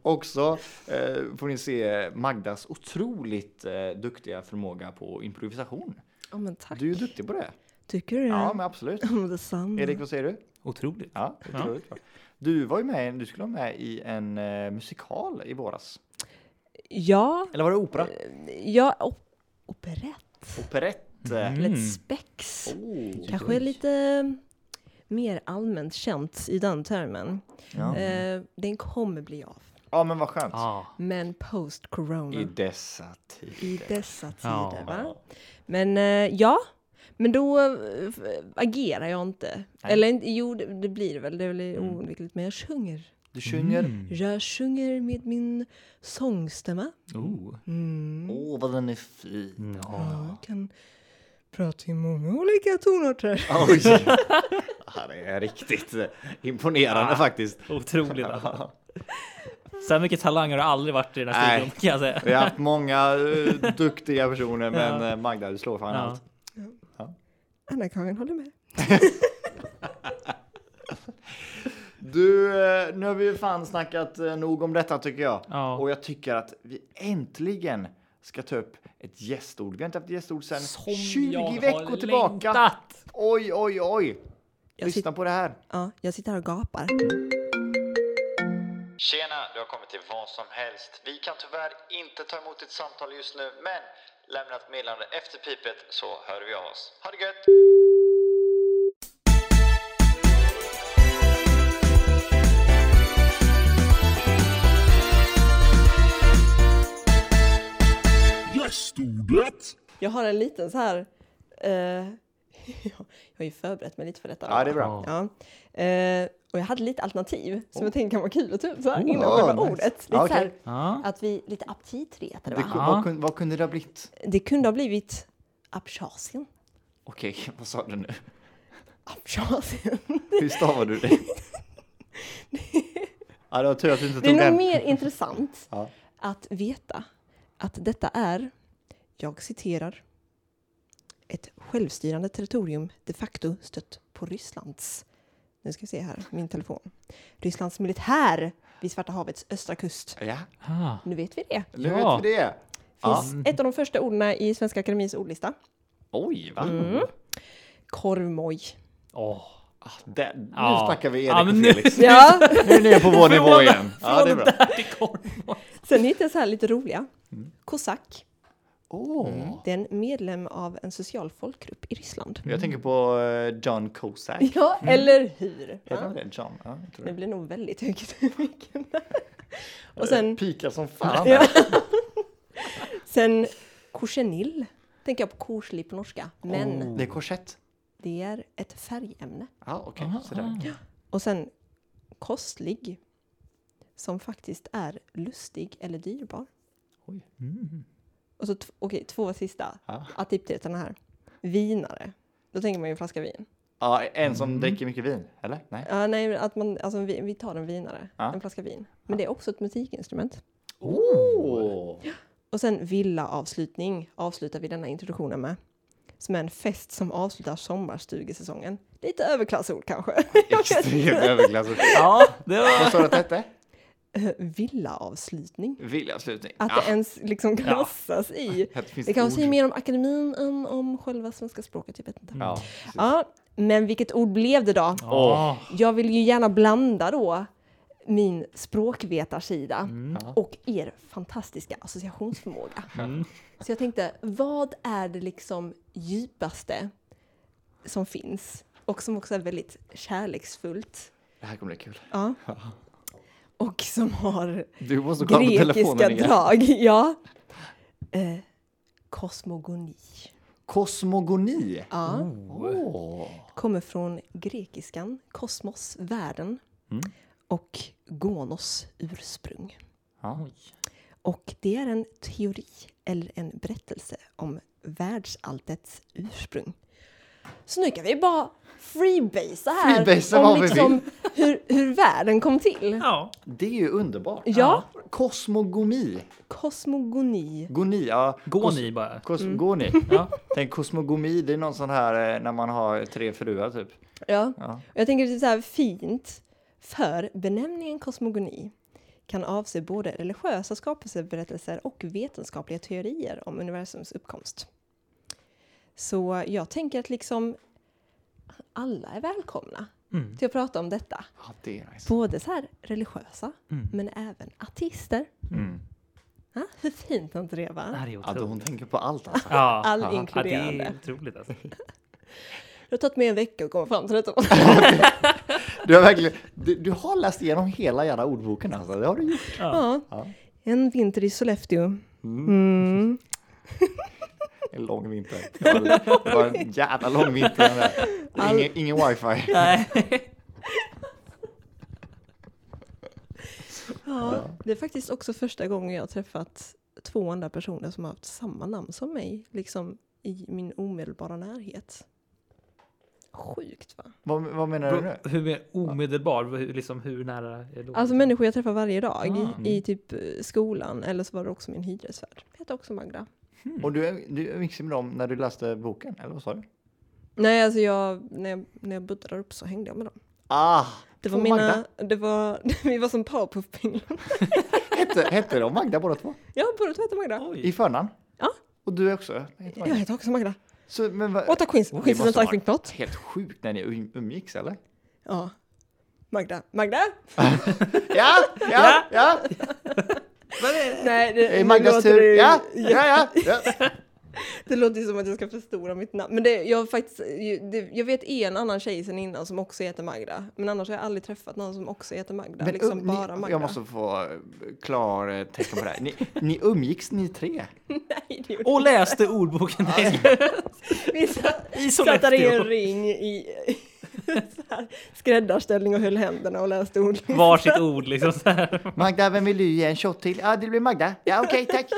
C: Också eh, får ni se Magdas otroligt eh, duktiga förmåga på improvisation.
D: Ja men tack.
C: Du är duktig på det.
D: Tycker du det?
C: Ja, men absolut.
D: men... Detsamma.
C: Erik, vad säger du?
B: Otroligt.
C: Ja, det tror jag. Du var ju med, du skulle vara med i en eh, musikal i våras.
D: Ja,
C: Eller var det opera?
D: Eh. ja op- operett.
C: Operett.
D: Eller ett spex.
C: Oh.
D: Kanske är lite mer allmänt känt i den termen.
C: Ja.
D: Eh, den kommer bli av.
C: ja, men vad skönt.
B: Ja.
D: Men post corona.
C: I
D: I,
C: dessa tider.
D: dessa
B: Ja.
D: tider va? Men eh, ja. Men då eh, f- agerar jag inte. Eller inte- jo, det, det blir det väl. Det blir
C: Mm.
D: oundvikligt. Men jag sjunger.
C: Du sjunger. Åh,
D: Jag sjunger med min sångstämma.
B: Oh.
C: oh, vad den är fin.
D: Jag kan prata i många olika tonarter.
C: Oj. Ja, det är riktigt eh, imponerande faktiskt.
B: Otroligt alltså. Så här mycket talang har det aldrig varit i den här
C: Nej.
B: studion kan jag säga.
C: Vi har haft många eh, duktiga personer, men eh, Magda, du slår fan
B: Ja.
C: allt.
D: Anna-Karin håller med.
C: Du, eh, nu har vi ju fan snackat eh, nog om detta tycker jag.
B: Ja.
C: Och jag tycker att vi äntligen ska ta upp ett gästord. Vi har inte haft gästord sedan
B: Som
C: 20
B: jag
C: veckor
B: har
C: tillbaka.
B: längtat.
C: Oj, oj, oj. Lyssna på det här.
D: Ja, jag sitter här och gapar.
E: Tjena, du har kommit till vad som helst. Vi kan tyvärr inte ta emot ditt samtal just nu, men lämna ett meddelande efter pipet så hör vi av oss. Ha det gött!
D: Jag har en liten så här... Eh, jag har ju förberett mig lite för detta.
C: Ja, det är bra.
D: Ja. Eh, och jag hade lite alternativ som jag tänkte kan vara kul att ta upp så här
C: Oh,
D: innan
C: ah,
D: själva
C: nice.
D: ordet. Lite
C: Ja,
D: så här,
C: okej.
B: Ja.
D: att vi lite aptitretade
C: Det,
D: va?
C: vad, kunde, vad kunde det ha blivit?
D: Det kunde ha blivit Abchasien.
C: Okej, vad sa du nu?
D: Abchasien.
C: Hur stavar du det? ja, det var tur att du inte
D: Det
C: tog
D: är nog
C: den.
D: mer intressant
C: Ja.
D: att veta att detta är, jag citerar, ett självstyrande territorium de facto stött på Rysslands, nu ska vi se här, min telefon, Rysslands militär vid Svarta havets östra kust.
C: Ja,
B: Ah.
D: Nu vet vi det.
C: nu
B: Ja.
C: vet vi det. Ja.
D: Finns ett av de första orden i Svenska Akademins ordlista.
C: Oj, va?
D: Mm. Korvmoj.
B: Åh.
C: Ah, det, nu
B: Ja.
C: snackar vi Erik
B: Ja,
C: och
B: men nu-
C: Felix.
D: Ja.
C: Nu är ni på vår nivå
B: Från-
C: igen. Ja, det är
B: från
C: bra.
B: där till korvmoj.
D: Sen hittade jag så här lite roliga.
C: Mm.
D: Kosack.
C: Åh.
D: Det är en medlem av en social folkgrupp i Ryssland.
C: Jag Mm. tänker på eh, John Cusack.
D: Ja, eller hur?
C: Heter han
D: Ja.
C: det? John? Ja, jag tror
D: Det
C: det.
D: blir nog väldigt högt i micken där. Och sen,
C: Pika som fan.
D: Ja. sen korsenil. Tänker jag på korsli på norska. Men
C: Det är korsett.
D: det är ett färgämne.
C: Ja, okej.
B: Aha,
C: sådär.
D: Och sen kostlig. Som faktiskt är lustig eller dyrbar.
C: Oj. Mm.
D: Och så t- okej, två sista.
C: Ja.
D: Attiptretarna här. Vinare. Då tänker man ju en flaska vin.
C: Ja, en som dricker mycket vin, eller? Nej.
D: Ja, nej, att man, alltså, vi, vi tar en vinare,
C: Ja.
D: en flaska vin. Men det är också ett musikinstrument.
C: Oh.
D: Och sen villaavslutning avslutar vi denna introduktionen med. Som är en fest som avslutar sommarstugesäsongen. Lite överklassord kanske.
C: Extrem överklass.
B: Ja, det var...
C: Vad sa du att det hette?
D: Villaavslutning.
C: Villaavslutning.
D: Att det ens liksom klassas i.
C: Här finns
D: Det
C: ett
D: kanske säger
C: ord.
D: mer om akademin än om själva svenska språket, jag vet inte.
C: Ja.
D: Ja, men vilket ord blev det då?
B: Åh.
D: Jag vill ju gärna blanda då min språkvetarsida
C: Mm.
D: och er fantastiska associationsförmåga. Så jag tänkte, vad är det liksom djupaste som finns och som också är väldigt kärleksfullt
C: Det här kommer bli kul.
D: och som har
C: Du måste kolla på
D: grekiska
C: telefonen igen.
D: drag? Ja. Eh, kosmogoni.
C: Kosmogoni. Oh.
D: Ja.
C: Åh.
D: kommer från grekiskan kosmos, världen
C: Mm.
D: och gonos, ursprung.
C: Ja.
D: Och det är en teori eller en berättelse om världsalltets ursprung. Så nu kan vi bara freebasea här
C: Freebasea vad
D: om
C: vi
D: liksom hur, hur världen kom till.
B: Ja.
C: Det är ju underbart.
D: Ja.
C: Kosmogoni.
D: Kosmogoni.
C: Goni, ja.
B: Gå ni bara.
C: Kosmogoni.
D: Mm.
B: Ja.
C: Tänk kosmogomi, det är någon sån här eh, när man har tre fruar typ.
D: Ja.
C: Ja.
D: Och Jag tänker att det är så här fint, för benämningen kosmogoni kan avse både religiösa skapelseberättelser och vetenskapliga teorier om universums uppkomst. Så jag tänker att liksom alla är välkomna till att prata om detta.
C: Ja, det är nice.
D: Både så här religiösa, men även artister. Ha? Hur fint har inte det
B: Det
D: va?
B: här är
C: Ja, då hon
B: otroligt.
C: tänker på allt alltså.
B: Ja.
D: All
B: Ja, det är
D: inkluderande.
B: otroligt alltså.
D: Det har tagit mig en vecka att komma fram till detta.
C: Du har verkligen, du, du har läst igenom hela jävla ordboken alltså. Det har du gjort.
D: ja. En vinter i Sollefteå.
C: En lång vinter. Det var, det var en jävla lång vinter. den där. Ingen, ingen wifi.
D: Ja, det är faktiskt också första gången jag har träffat två andra personer som har haft samma namn som mig, liksom i min omedelbara närhet. Sjukt va?
C: Vad, vad menar du nu?
B: Hur mer omedelbar, hur, liksom, hur nära är då?
D: Alltså människor jag träffar varje dag
B: Ah.
C: Mm.
D: i, i typ eh, skolan, eller så var det också min hyresvärd. Jag heter också Magda.
C: Och du, du mixade med dem när du läste boken, eller vad sa du?
D: Nej, alltså jag, när jag, när jag buddade där uppe så hängde jag med dem.
C: Ah!
D: Det var
C: Två
D: mina,
C: Magda.
D: det var, vi var som Powerpuff-pinglan.
C: Hette, hette de Magda båda två?
D: Ja, båda två heter Magda.
C: I förnamn?
D: Ja,
C: Och du också? Heter
D: jag
C: Magda.
D: heter också Magda.
C: Så, men vad-
D: Åtta Queens,
C: Det
D: Queens is
C: måste
D: an
C: ha
D: Ice
C: varit
D: Plot.
C: Helt sjukt när ni um- umgicks eller?
D: Ja. Magda. Magda?
C: Ja, ja, ja!
D: Nej, det,
C: Eh, Magdas
D: låter
C: tur.
D: ju-
C: Ja, ja, ja! ja.
D: Det låter ju som att jag ska förstora mitt namn. Men det, jag, har faktiskt, ju- det, jag vet en annan tjej sen innan som också heter Magda. Men annars har jag aldrig träffat någon som också heter Magda.
C: Men,
D: liksom
C: um, ni,
D: bara Magda.
C: Jag måste få eh, klar eh, tecken på det här. Ni, ni umgicks ni tre?
D: Nej, det gjorde
B: Och läste ordboken.
D: vi satt,
C: Alltså,
B: I
D: satt där i en
B: Sollefteå.
D: ring i så här, skräddarställning och höll händerna och läste ord.
B: Varsitt ord liksom så här.
C: Magda, vem vill du ge en shot till? Ja, det blir Magda. Ja, okej, tack.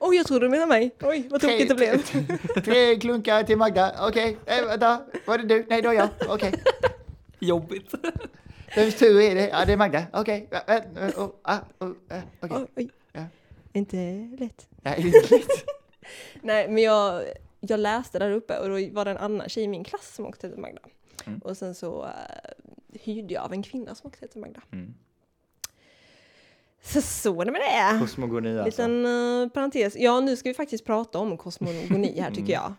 D: Oj, jag trodde du menade mig. Oj, vad tokigt det
C: Tre-
D: blev.
C: Tre klunkar till Magda. Okej, eh, vänta. Var det du? Nej, det var jag. Okej.
B: Jobbigt.
C: Vems tur är det? Ja, det är Magda. Okej. Ja, eh, eh, oh, ah, oh, eh, okej.
D: Oj, oj.
C: Ja.
D: Inte lätt.
C: Nej, det är inte lätt.
D: Nej, men jag, jag läste där uppe och då var det en annan tjej i min klass som också hette Magda.
C: Mm.
D: Och sen så eh, hyrde jag av en kvinna som också hette Magda.
C: Mm.
D: Så så är det med det.
C: Kosmogoni alltså.
D: Liten eh, parentes. Ja, nu ska vi faktiskt prata om kosmogoni här
C: Mm.
D: tycker jag.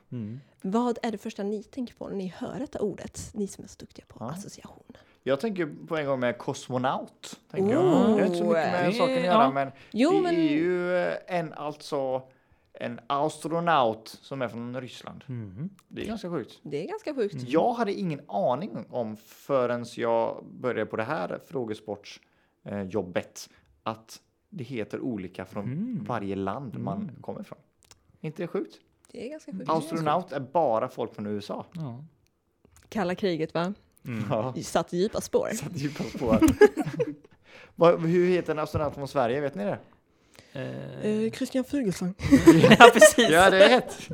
D: Vad är det första ni tänker på när ni hör detta ordet? Ni som är så duktiga på associationer.
C: Jag tänker på en gång med kosmonaut. Tänker jag.
D: Oh.
C: Det är inte så mycket med
B: Det-
C: saken att göra,
B: ja.
C: men
D: Jo,
C: det
D: men-
C: är ju eh, en alltså en astronaut som är från Ryssland. Det är ganska sjukt.
D: Det är ganska sjukt.
C: Jag hade ingen aning om förrän jag började på det här frågesportsjobbet eh, jobbet, att det heter olika från varje land man kommer ifrån. inte det sjukt?
D: Mm. Det är ganska sjukt.
C: Astronaut är bara folk från USA.
B: Ja. Mm.
D: Kalla kriget va?
C: Mm.
D: Mm.
C: Ja.
D: Satt djupa spår.
C: Satt djupa spår. Vad- Hur heter en astronaut från Sverige? Vet ni det?
B: Eh,
D: Eh, Christian Fuglesang.
B: ja, precis.
C: Ja, det är rätt.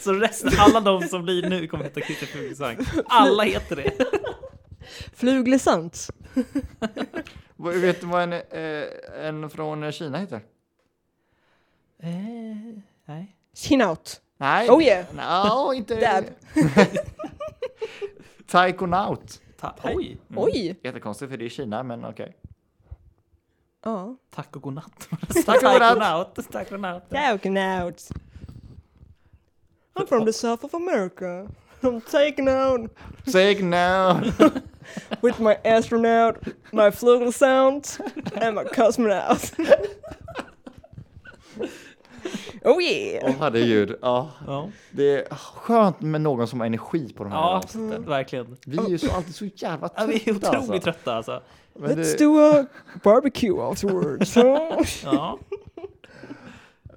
B: Så resten, alla de som blir nu kommer heta Christer Fuglesang. Alla heter det.
D: Fuglesant.
C: Vad- Vet du vad en, eh, en från Kina heter?
B: Eh, nej.
D: Chinout.
C: Nej.
D: Oh yeah.
C: No, inte...
D: Dab.
C: Taikonaut.
B: Ta-
C: Mm.
B: Oj! Mm.
D: Oj!
C: Jättekonstigt för det är Kina, men okej.
D: Ja.
B: Tack och godnatt.
C: Tack och godnatt.
B: Tack Tack och godnatt.
D: Taconauts. I'm from the south of America. I'm taken out
C: Säg no.
D: with my astronaut, my flugel sound, and my cosmonaut. oh yeah!
C: Åh, herregud. Ja.
B: Ja,
C: Det är skönt med någon som har energi på de här
B: ja
D: Mm.
C: avsnitten.
B: verkligen.
C: Vi är ju så, alltid så jävla trötta.
B: Ja, vi är otroligt
C: alltså.
B: trötta alltså.
C: Men
D: Let's
C: det-
D: do a barbecue afterwards. huh?
B: Ja.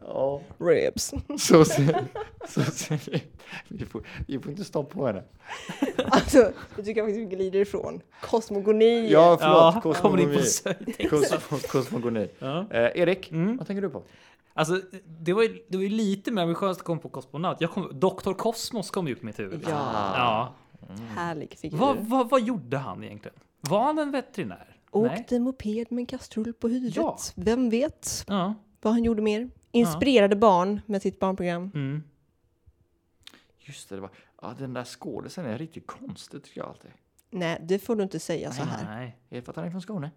C: ja.
D: Ribs.
C: Så ser, så ser vi. Vi får, vi får inte stoppa på henne.
D: Alltså, jag tycker faktiskt vi glider ifrån. Kosmogoni.
C: Ja, förlåt.
B: ja. Kommer in
C: Kosmogoni.
B: på söjt.
C: Kos, kosmogoni.
B: Ja.
C: Eh, Erik,
B: Mm.
C: vad tänker du på?
B: Alltså, det var ju, det var ju lite mer ambitiöst att komma på kosmonaut. Jag kom, Dr. Kosmos kom ju upp i mitt huvud.
D: Ja.
B: ja.
D: Härlig figur.
B: Vad, vad, vad gjorde han egentligen? Var han en veterinär? Nej.
D: Åkte moped med en kastrull på huvudet.
B: Ja.
D: Vem vet?
B: Ja.
D: vad han gjorde mer. Inspirerade barn med sitt barnprogram.
B: Mm.
C: Just det, det var, ja, den där skådisen är riktigt konstig tycker jag alltid.
D: Nej, det får du inte säga så här.
B: Nej.
C: Jag vet att han är från Skåne.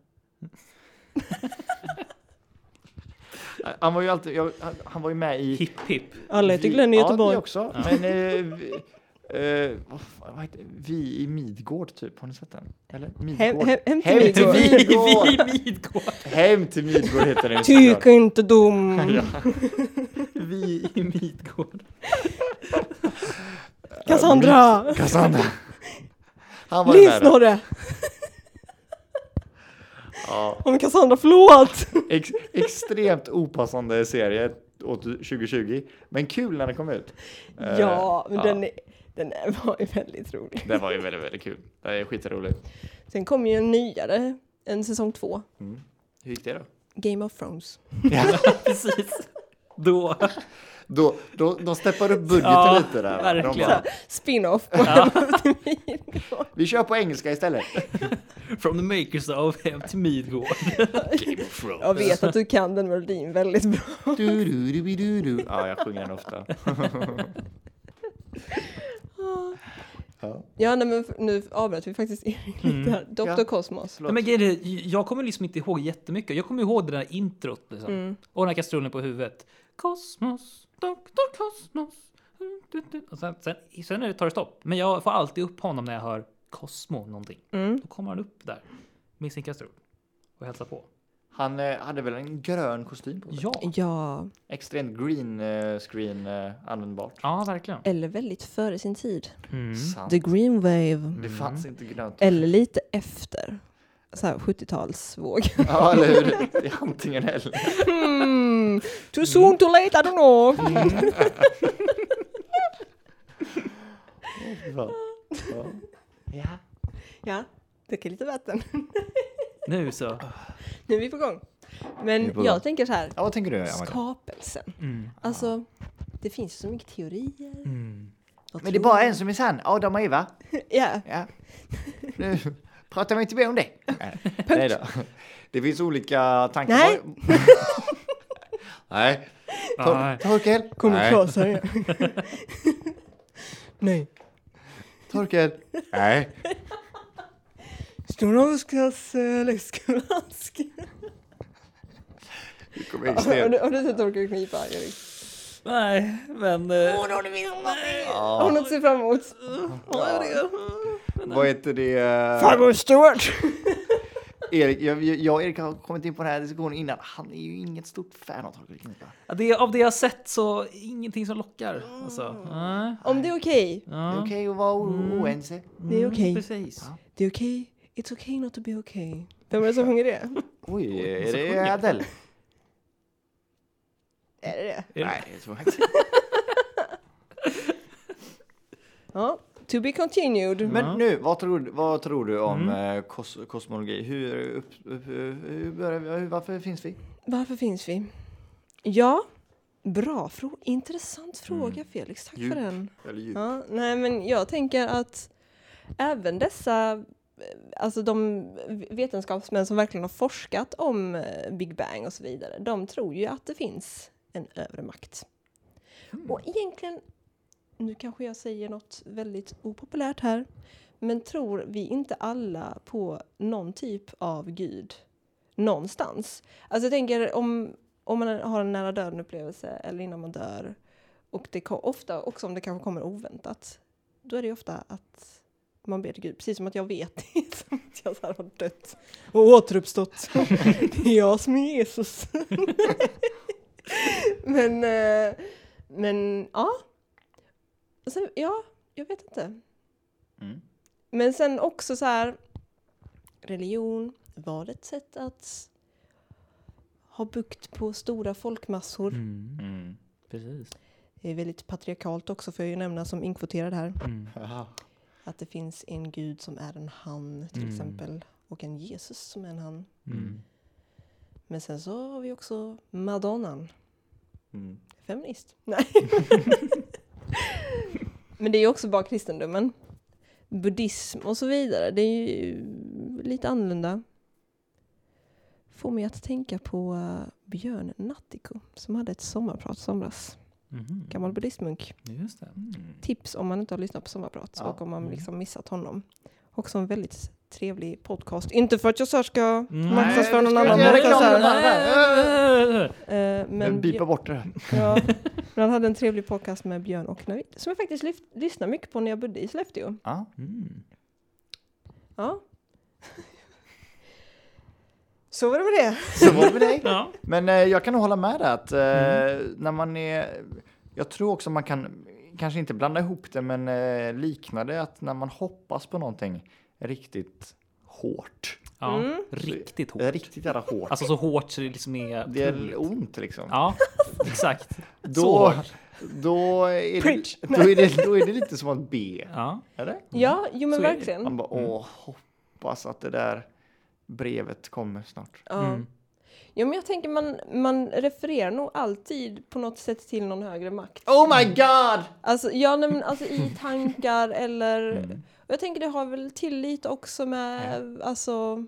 C: Eh, han, var ju alltid, jag, han, han var ju med i...
B: Hipp hipp.
D: Alla heter Glenn i
C: Ja,
D: Göteborg.
C: det också. Men eh, vi, eh, vad fan, vad heter, vi i Midgård typ, har ni sett den? Eller? Midgård.
D: hem- hem till Midgård.
B: Vi, vi
C: Midgård.
B: Midgård.
C: Hem till Midgård heter den
D: Tycker inte dum.
B: Vi i Midgård.
D: Cassandra!
C: Cassandra. Han var ju med
D: Lyssna
C: där.
D: det!
C: Ja,
D: Om Cassandra, förlåt!
C: ex, extremt opassande serie åt 2020, men kul när den kom ut. Eh,
D: ja, men Den, är- den är- var ju väldigt rolig.
C: Den var ju väldigt, väldigt kul. Det är skitroligt.
D: Sen kom ju en nyare, en säsong två.
C: Hur gick det då?
D: Game of Thrones.
B: Precis. Då.
C: Då, då, de steppar upp budgeten
B: Ja,
C: lite där. De
B: verkligen.
C: bara,
D: Spin-off.
C: vi kör på engelska istället.
B: From the makers of Hem till Midgård.
D: Jag vet att du kan den melodin väldigt bra.
C: Du, du, du, du, du. Ja, jag sjunger den ofta.
D: Ja, nej, men f- nu avbröt vi faktiskt Erik lite här. Dr.
C: Ja.
D: Cosmos.
B: Nej, men grejen är, jag kommer liksom inte ihåg jättemycket. Jag kommer ihåg det där introt liksom.
D: Mm,
B: Och den här kastrullen på huvudet. Kosmos, Dr. Kosmos. Mm, du, du. Och sen, sen, sen är det, tar det stopp. Men jag får alltid upp honom när jag hör Cosmo någonting.
D: mm.
B: Då kommer han upp där med sin kastrull och hälsar på.
C: Han eh, hade väl en grön kostym på sig?
B: Ja,
D: Ja,
C: Extremt green eh, screen eh, användbart.
B: ja verkligen.
D: eller väldigt före sin tid.
B: Mm.
C: Sant.
D: The Green Wave.
C: Det fanns inte grönt.
D: Eller lite efter. Så här 70-talsvåg.
C: Ja, eller hur? Det är Antingen eller.
D: Mm. Too soon, too late, I don't know.
C: Ja. Ja.
D: Ja, dricker lite vatten.
B: Nu så.
D: Nu är vi på gång. Men
C: på
D: jag
C: gång.
D: tänker så här,
C: ja, vad tänker du? Amanda?
D: skapelsen. Alltså, det finns ju så mycket teorier. Vad
C: Men det är
D: tror
C: bara
D: du?
C: en som är sann. Adam och Eva.
D: Ja,
C: Ja. Nu pratar vi inte mer om det. Nej då. Det finns olika tankar.
D: Nej.
C: Nej.
B: Nej.
C: Tor- Torkel.
D: kommer
C: Nej.
D: klasa igen. Nej.
C: Torkel. Nej.
D: Storavskas läskolask.
C: Du kommer in
D: Har
C: snett.
D: du- har du sett Torkel knipa, Erik?
B: Nej, men... eh,
D: Har du något att se fram emot?
C: Vad heter det? eh,
D: Farbror Stuart!
C: Erik, jag, jag- jag och Erik har kommit in på den här diskussionen innan. Han är ju inget stort fan av Torkel Knipa.
B: Ja, Det, av det jag sett så ingenting som lockar. Alltså. Nej.
D: Om det är okej.
C: Det är
B: Ja.
C: okej att vara o- oense.
D: Det är okej.
C: Mm.
B: Precis.
D: Det är okej. It's okay not to be okay. Vem är det som sjunger det?
C: Oj, är det Adele?
D: Är det det?
C: Nej, jag tror inte.
D: Ja. To be continued.
C: Men nu, vad tror, du- vad tror du om eh, kos, kosmologi? Hur, upp, upp, hur börjar vi, hur, varför finns vi?
D: Varför finns vi? Ja, bra fråga. Intressant fråga Felix. Tack
C: Mm. Djup.
D: för den.
C: Eller djur?
D: Ja, nej men jag tänker att även dessa, eh, alltså de vetenskapsmän som verkligen har forskat om eh, Big Bang och så vidare, de tror ju att det finns en övre makt. Och egentligen, nu kanske jag säger något väldigt opopulärt här, men tror vi inte alla på någon typ av gud någonstans? Alltså jag tänker om, om man har en nära döden upplevelse eller innan man dör, och det kom, ofta också om det kanske kommer oväntat. Då är det ju ofta att man ber till Gud, precis som att jag vet som att jag så här har dött och återuppstått. det är jag som är Jesus. men, eh, men ja. Och Sen, ja, jag vet inte. Men sen också så här, religion var ett sätt att ha bukt på stora folkmassor.
B: Mm. Precis.
D: Det är väldigt patriarkalt också, får jag ju nämna som inkvoterad här.
B: Mm.
D: Att det finns en gud som är en han till exempel. Och en Jesus som är en han.
B: Mm.
D: Men sen så har vi också madonnan. Feminist. Nej. Men det är ju också bara kristendomen. Buddhism och så vidare. Det är ju lite annorlunda. Får mig att tänka på eh, Björn Nattiko som hade ett sommarprat i somras gammal buddhistmunk.
B: Mm. Just det. Mm.
D: Tips om man inte har lyssnat på sommarprat
C: Ja.
D: och om man liksom missat honom. Också en väldigt trevlig podcast. Inte för att jag så här ska marknadsföra någon
C: ska vi
D: annan.
C: göra
D: men det kan
C: reklam
D: så här-
C: för den här?
D: Eh, men,
C: Men bipa
D: Björ-
C: bort det här.
D: ja, men han hade en trevlig podcast med Björn och Navid som jag faktiskt lyft, lyssnar mycket på när jag bodde i Sollefteå.
C: Ja.
B: Mm.
D: Ja. Så var det med det.
C: Så var det med dig.
B: Ja.
C: Men eh, jag kan nog hålla med dig att eh, när man är... Jag tror också man kan, kanske inte blanda ihop det, men eh, likna det att när man hoppas på någonting riktigt hårt.
B: Ja,
C: Mm.
B: riktigt hårt.
C: Riktigt jävla hårt.
B: Alltså så hårt så det liksom är...
C: Eh, det är ont liksom.
B: Ja, exakt. Så
C: Då,
B: hårt.
C: då, är
D: Preach.
C: det, då, är det, då är det lite som att be.
B: Ja.
C: Eller?
D: Ja, jo men
B: Så är det.
D: verkligen.
C: Man bara, åh, hoppas att det där brevet kommer snart.
D: Ja. Ja, men jag tänker man, man refererar nog alltid på något sätt till någon högre makt.
C: Oh my god!
D: Alltså, ja, nej, men alltså i tankar eller... Och jag tänker det har väl tillit också med alltså,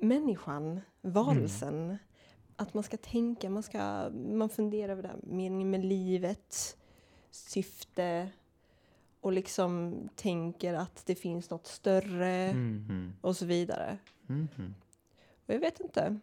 D: människan, varelsen. Att man ska tänka, man, ska, man funderar över det här, meningen med livet, syfte. och liksom tänker att det finns något större och så vidare. Och jag vet inte.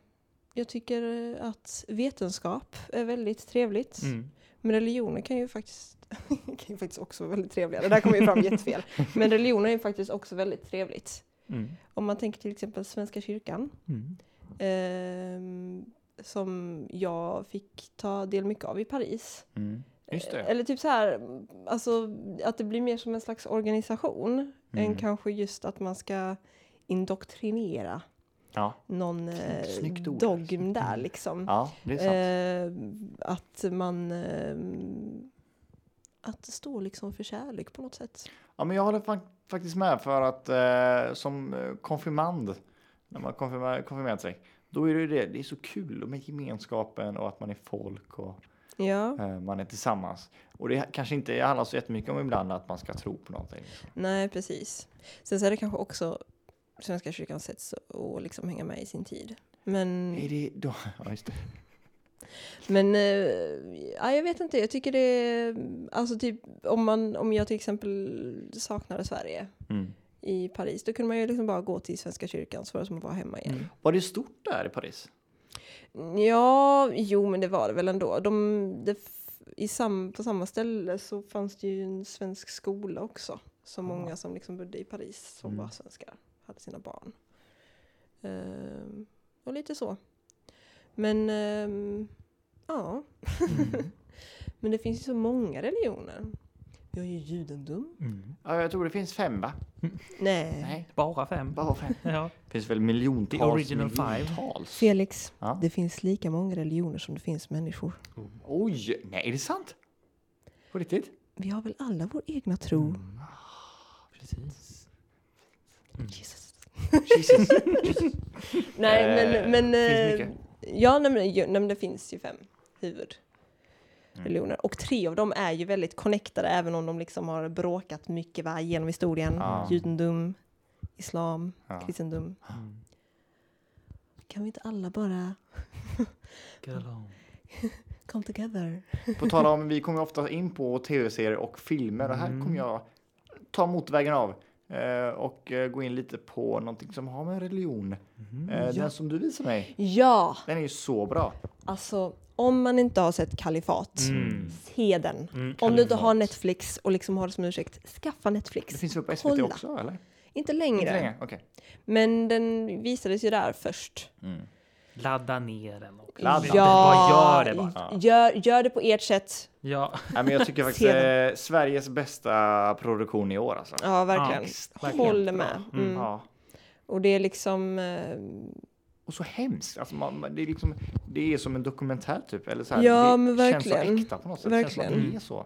D: Jag tycker att vetenskap är väldigt trevligt.
B: Mm.
D: Men religioner kan ju faktiskt kan ju faktiskt också vara väldigt trevliga. Det där kommer ju fram jättefel. Men religioner är ju faktiskt också väldigt trevligt.
B: Mm.
D: Om man tänker till exempel Svenska kyrkan.
B: Mm.
D: ehm, som jag fick ta del mycket av i Paris.
C: Mm. Just det.
D: Eller typ så här, alltså att det blir mer som en slags organisation
C: Mm.
D: än kanske just att man ska indoktrinera
C: Ja,
D: någon eh,
C: snyggt ord. Mm.
D: dogm där liksom.
C: ja det är sant.
D: Eh, att man eh, att stå liksom för kärlek på något sätt.
C: Ja, men jag håller fak- faktiskt med för att eh, som eh, konfirmand, när man konfirmerar, konfirmerat sig, då är det ju det, det är så kul med gemenskapen och att man är folk och
D: Ja,
C: eh, man är tillsammans. Och det kanske inte handlar så jättemycket om ibland att man ska tro på någonting.
D: nej precis. Sen så är det kanske också Svenska kyrkans sätt så- att liksom hänga med i sin tid. Men
C: Är det då? Ja, just det.
D: Men eh, ja, jag vet inte, jag tycker det är, alltså typ om, man, om jag till exempel saknade Sverige
C: Mm.
D: i Paris, då kunde man ju liksom bara gå till Svenska kyrkan så var det som att vara hemma igen.
C: Var det stort där i Paris?
D: Ja, jo men det var det väl ändå. De, det, f- i sam, på samma ställe så fanns det ju en svensk skola också. Så många som liksom bodde i Paris som var svenskar hade sina barn. Ehm, och lite så. Men ehm, ja. Mm. men det finns ju så många religioner. Vi har ju judendom.
C: Ja, jag tror det finns fem, va?
D: Nej.
C: Nej,
B: Bara fem.
C: bara fem.
B: Ja.
C: Det finns väl miljontals?
B: Original five.
C: miljontals.
D: Felix,
C: Ja.
D: det finns lika många religioner som det finns människor.
C: Oj, nej, är det sant? På riktigt?
D: Vi har väl alla vår egna tro.
B: Precis.
D: Jesus.
C: Jesus.
D: Nej,
C: Eh,
D: men... men
C: finns
D: eh,
C: mycket.
D: ja, nej, men, ju- nej, men det finns ju fem
C: Mm.
D: huvudreligioner. Och tre av dem är ju väldigt connectade, även om de liksom har bråkat mycket va, genom historien.
C: Ja.
D: Judendom, islam,
C: Ja. Mm.
D: kristendom. Kan vi inte alla bara
B: Get along.
D: come together?
C: På tal om, vi kommer ju ofta in på tv-serier och filmer och här
D: Mm.
C: kommer jag ta motvägen av eh, och eh, gå in lite på någonting som har med religion.
D: Mm,
C: Eh, Den som du visar mig,
D: Ja,
C: den är ju så bra.
D: alltså om man inte har sett Kalifat, se den. om du inte
C: Mm. Kalifat.
D: har Netflix och liksom har det som ursäkt, skaffa Netflix.
C: Det finns väl på SVT
D: Kolla.
C: också eller?
D: Inte längre.
C: Inte längre? Okej.
D: Men den visades ju där först.
B: Ladda ner den också.
C: Ladda.
B: Bara gör det bara.
D: Gör, gör det på ert sätt.
B: Ja.
C: Nej, men jag tycker faktiskt
D: Se
C: eh, Sveriges bästa produktion i år alltså.
D: Ja,
B: Ja,
D: verkligen.
B: visst, verkligen.
D: Håller med. Mm.
C: Ja.
D: Och det är liksom... eh,
C: Och så hemskt. Alltså, man, man- det, är liksom, det är som en dokumentär typ. Eller så här,
D: Ja,
C: det
D: men verkligen.
C: känns så äkta på något sätt. Det känns som att
D: Verkligen.
C: det är så.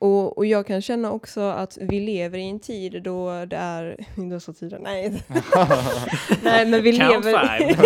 D: Och, och jag kan känna också att vi lever i en tid då det är... Inte så tiden, nej. nej, men vi
B: Count
D: lever,
B: five.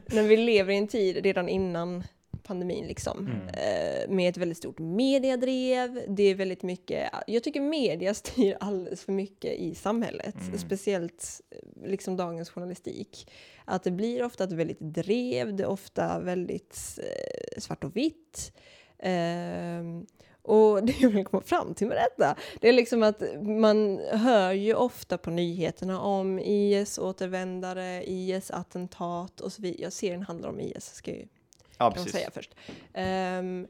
D: men vi lever i en tid redan innan pandemin liksom. Eh, med ett väldigt stort mediedrev. Det är väldigt mycket... Jag tycker media styr alldeles för mycket i samhället. Speciellt eh, liksom dagens journalistik. Att det blir ofta ett väldigt drev, det är ofta väldigt eh, svart och vitt. Ehm, och det jag vill komma fram till med detta, det är liksom att man hör ju ofta på nyheterna om IS-återvändare, IS-attentat och så vidare. Jag ser den handlar om IS, ska jag ju
C: Ja,
D: kan man
C: precis.
D: säga först. Ehm,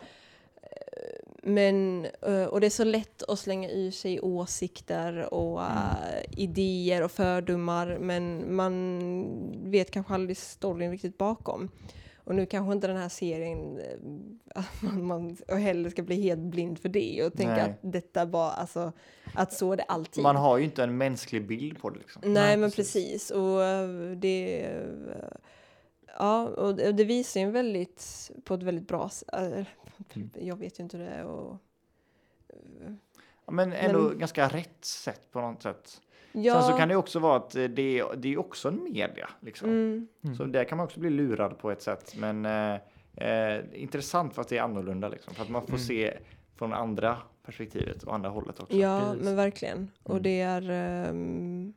D: eh, men, eh, och det är så lätt att slänga ur sig åsikter och
C: Mm.
D: eh, idéer och fördomar men man vet kanske aldrig storyn riktigt bakom. Och nu kanske inte den här serien, eh, att man, man och heller ska bli helt blind för det och tänka
C: Nej.
D: att detta var, alltså, att så är det alltid.
C: Man har ju inte en mänsklig bild på det liksom.
D: Nej, men precis. Och eh, det... eh, Ja, och det och det visar ju en väldigt, på ett väldigt bra sätt.
C: Mm.
D: Jag vet ju inte hur det är och...
C: Ja, Men ändå
D: Men-
C: ganska rätt sätt på något sätt.
D: Ja,
C: Sen så kan det också vara att eh, det, är- det är också en media. Liksom.
D: mm,
C: Så där kan man också bli lurad på ett sätt. Men eh, eh, intressant för att det är annorlunda. Liksom. För att man får se från andra perspektivet och andra hållet också.
D: ja
B: precis.
D: men verkligen. Och det är ehm,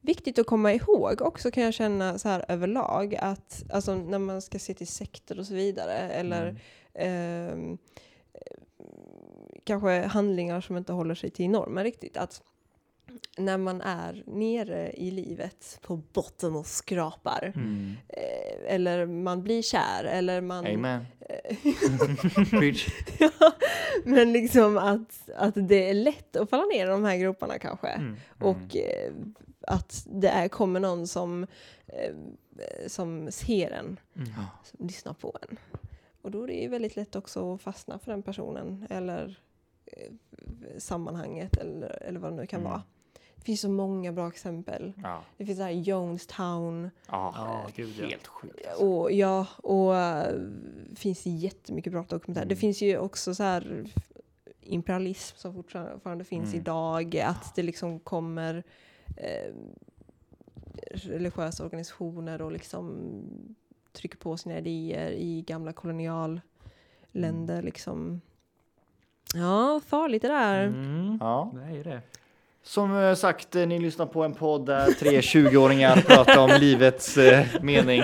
D: viktigt att komma ihåg också kan jag känna så här överlag att alltså, när man ska se till sekter och så vidare eller ehm, kanske handlingar som inte håller sig till normen riktigt. Att när man är nere i livet på botten och skrapar
B: Mm.
D: eh, eller man blir kär eller man...
C: Amen. Preach.
D: Ja, men liksom att, att det är lätt att falla ner i de här groparna kanske. Och eh, att det är, kommer någon som, eh, som ser en, som lyssnar på en. Och då är det ju väldigt lätt också att fastna för den personen eller eh, sammanhanget eller, eller vad det nu kan vara. Det finns så många bra exempel.
C: Ja.
D: Det finns så här Jonestown
C: Ja,
B: gud, ja.
C: helt sjukt. alltså.
D: och ja, och äh, finns jättemycket bra dokumentärer. Det finns ju också så här imperialism som fortfarande finns idag, att det liksom kommer eh, religiösa organisationer och liksom trycker på sina idéer i gamla kolonialländer liksom. Ja, farligt det där.
B: Mm.
C: Ja.
B: Det är det.
C: Som eh, sagt, eh, ni lyssnar på en podd där tre 20-åringar pratar om livets eh, mening.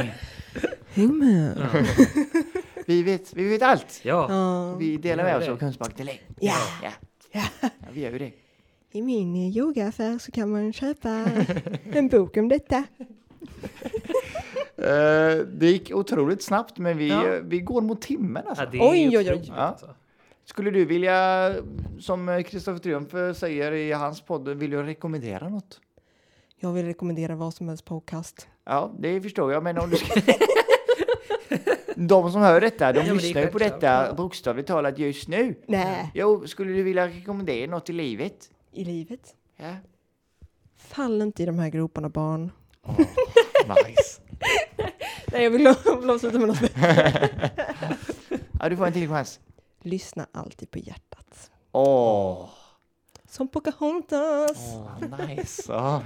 D: Häng med!
C: Vi vet, vi vet allt.
B: Ja.
D: Ja,
C: Vi delar med oss av kunskap till dig.
D: Ja.
C: ja. Ja, vi gör ju det.
D: i min eh, yogaaffär så kan man köpa en bok om detta.
C: Eh, det gick otroligt snabbt, men vi,
B: Ja.
C: eh, vi går mot timmen alltså.
B: ja det är
D: Oj, oj, oj.
B: otroligt,
C: Ja.
B: alltså.
C: Skulle du vilja, som Kristoffer Triumf eh, säger i hans podd, vill du rekommendera något?
D: Jag vill rekommendera vad som helst podcast.
C: Ja, det förstår jag, men om du ska... De som hör detta, de
B: men det är
C: lyssnar ju på
B: självklart.
C: detta bokstavligt talat just nu.
D: Nej,
C: Jo, skulle du vilja rekommendera något i livet?
D: i livet.
C: Ja.
D: Fall inte i de här groparna barn.
C: Nice.
D: Nej, jag vill avsluta med något.
C: Ja, du får en till chans.
D: Lyssna alltid på hjärtat.
C: Åh,
D: Som Pocahontas.
C: nice. Ja.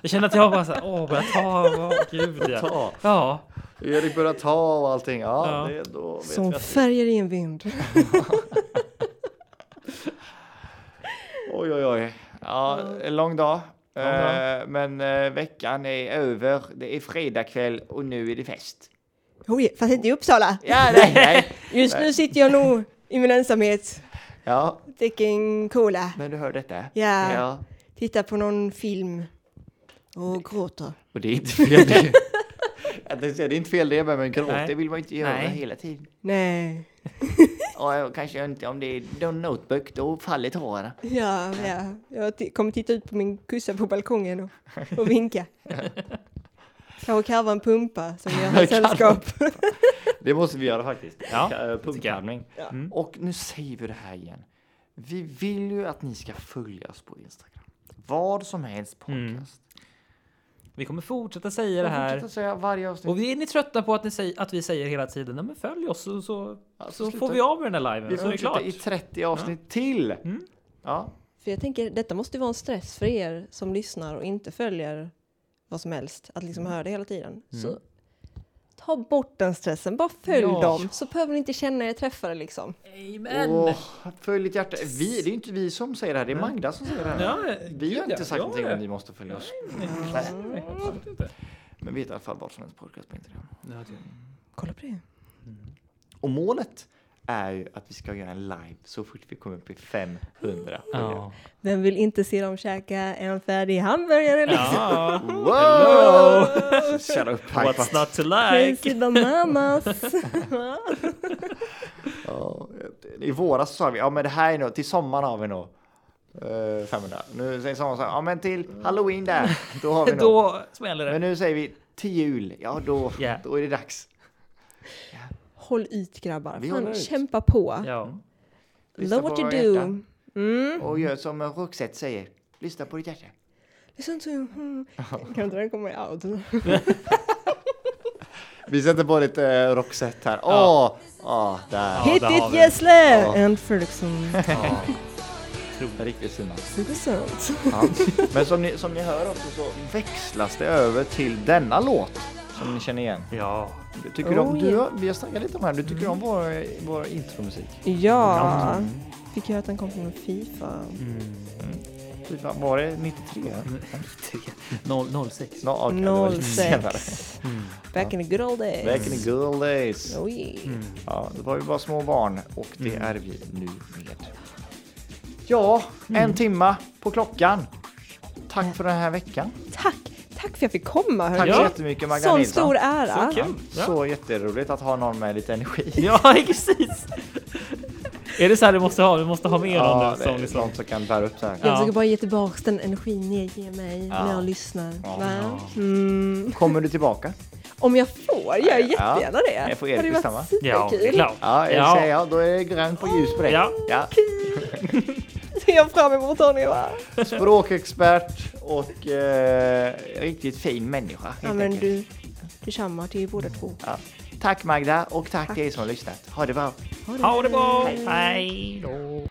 B: Jag känner att jag bara såhär, åh, börja ta, åh, gud ja.
C: Ta.
B: Ja,
C: Erik börjar ta och allting. Ja,
B: Ja.
C: Det, då vet
D: som
C: vi att-
D: färger i en vind.
C: Oj, oj, oj. Ja, en lång dag.
B: Lång dag.
C: Eh, men eh, veckan är över. Det är fredag kväll och nu är det fest.
D: Oh, yeah, fast inte i Uppsala.
C: Ja, nej, nej.
D: Just nu sitter jag nog i min ensamhet.
C: Ja,
D: Dricker en cola.
C: när du hör detta.
D: Ja.
C: ja.
D: Tittar på någon film. Och gråter.
C: Och det är inte fel det. Jag tänkte säga, det är inte fel det, men gråt,
B: Nej.
C: det vill man inte göra
B: Nej.
C: hela tiden.
D: Nej.
C: Och jag kanske inte om det är någon notebook, då faller tårarna.
D: Ja, ja. Jag t- kommer titta ut på min kussa på balkongen och, och vinka. Kanske karva en pumpa som gör mig
C: Karva.
D: sällskap.
C: Det måste vi göra faktiskt.
B: Ja,
C: Eh,
B: tycker jag.
C: Pumpkarvning. Mm. Och nu säger vi det här igen. Vi vill ju att ni ska följa oss på Instagram. Vad som helst podcast.
B: vi kommer fortsätta säga
C: Jag
B: det här.
C: fortsätter att säga varje avsnitt.
B: Och är ni trötta på att, ni säger, att vi säger hela tiden Nej, men följ oss så, så,
C: Ja,
B: så
C: sluta.
B: får vi av med den här liven.
C: Vi
B: så är det
C: fortsätter
B: klart. Mm.
C: i 30 avsnitt till. Ja.
D: För jag tänker, detta måste ju vara en stress för er som lyssnar och inte följer vad som helst, att liksom höra det hela tiden. Så ta bort den stressen, bara följ
B: Ja.
D: dem, så behöver ni inte känna er träffade liksom.
B: Amen.
C: Åh, följ ditt hjärta. Vi, det är inte vi som säger det här, det är Magda som säger det här.
B: Ja,
C: vi har
B: gud,
C: inte
B: ja.
C: sagt
B: Ja,
C: någonting
B: ja.
C: om att ni måste följa oss.
B: Nej, absolut inte.
C: Men vi heter i alla fall vad som helst podcast på Instagram.
D: Kolla på det.
C: Och målet är ju att vi ska göra en live så fort vi kommer upp i 500 följare.
B: Ja.
D: Vem vill inte se dem käka en färdig hamburgare liksom?
B: Ja.
C: Wow! Shut up,
B: What's
C: Pipe.
B: not to like?
D: Crazy bananas!
C: Ja, I våras sa vi, ja men det här är nog, till sommaren har vi nog eh, 500. Nu säger sommaren så här, ja men till halloween där, då har vi nog.
B: Då smäller det.
C: Men nu säger vi till jul, ja då,
B: Ja.
C: då är det dags.
D: Håll ut grabbar,
C: Vi
D: Fan,
C: håller ut.
D: kämpa på!
B: Ja.
C: Lyssna
D: Love
C: på
D: what
C: våra
D: you do!
C: hjärtan.
D: Mm.
C: Och gör som Roxette säger, lyssna på ditt hjärta.
D: Listen to... Mm. Kan inte den komma out?
C: Vi sätter på lite eh, Roxette här. Åh, åh, där.
D: Hit
B: där har
D: it
B: vi
D: Gessle! And Fredriksson.
C: Riktigt fina.
D: Intressant.
C: Ja. Men som ni, som ni hör också så växlas det över till denna låt som ni känner igen.
B: ja.
C: Tycker du om,
D: Oh, Mm.
C: du,
D: yeah.
C: har- vi har snackat lite om det här, du tycker om vår, vår intromusik? Mm.
D: Ja, fick höra att den kom från Fifa.
C: Fy fan, Typ, var det 93?
B: 06.
C: Nå, okay, det var lite senare.
D: 06. Back in the good old days.
C: Mm. Back in the Mm. good days.
D: Oh yeah.
C: Ja, det var ju bara små barn och det är vi nu med. Ja, en timma på klockan. Tack för den här veckan.
D: Tack! Tack för att jag fick komma.
C: Tack
D: hörni.
C: så
B: Ja.
C: jättemycket Magda
D: Sån
C: Nilsson.
D: stor ära.
B: Så kul. Ja.
C: Så jätteroligt att ha någon med lite energi.
B: ja, precis. Är det så här du måste ha? Du måste ha med någon nu
C: det
B: som
C: är
B: liksom...
C: någon som kan bära upp så här.
D: Jag
B: Ja.
D: försöker bara ge tillbaka den energin ni ger mig när jag lyssnar. Va? Mm.
C: Kommer du tillbaka?
D: Om jag får, gör jag jättegärna det.
C: Jag får
D: Har det
C: Erik bestämma.
D: varit
B: Ja, det är
D: superkul.
B: klart.
C: Ja, det
B: Ja.
C: säger jag. Då är det grönt på ljus på dig.
B: Ja.
D: Ser jag fram emot hörni. va?
C: Språkexpert och eh, riktigt fin människa. helt
D: Ja men
C: enkelt.
D: du, detsamma till er båda två.
C: Ja. Tack Magda och tack, till er som har lyssnat. Ha det bra.
B: Ha det bra! Hej då!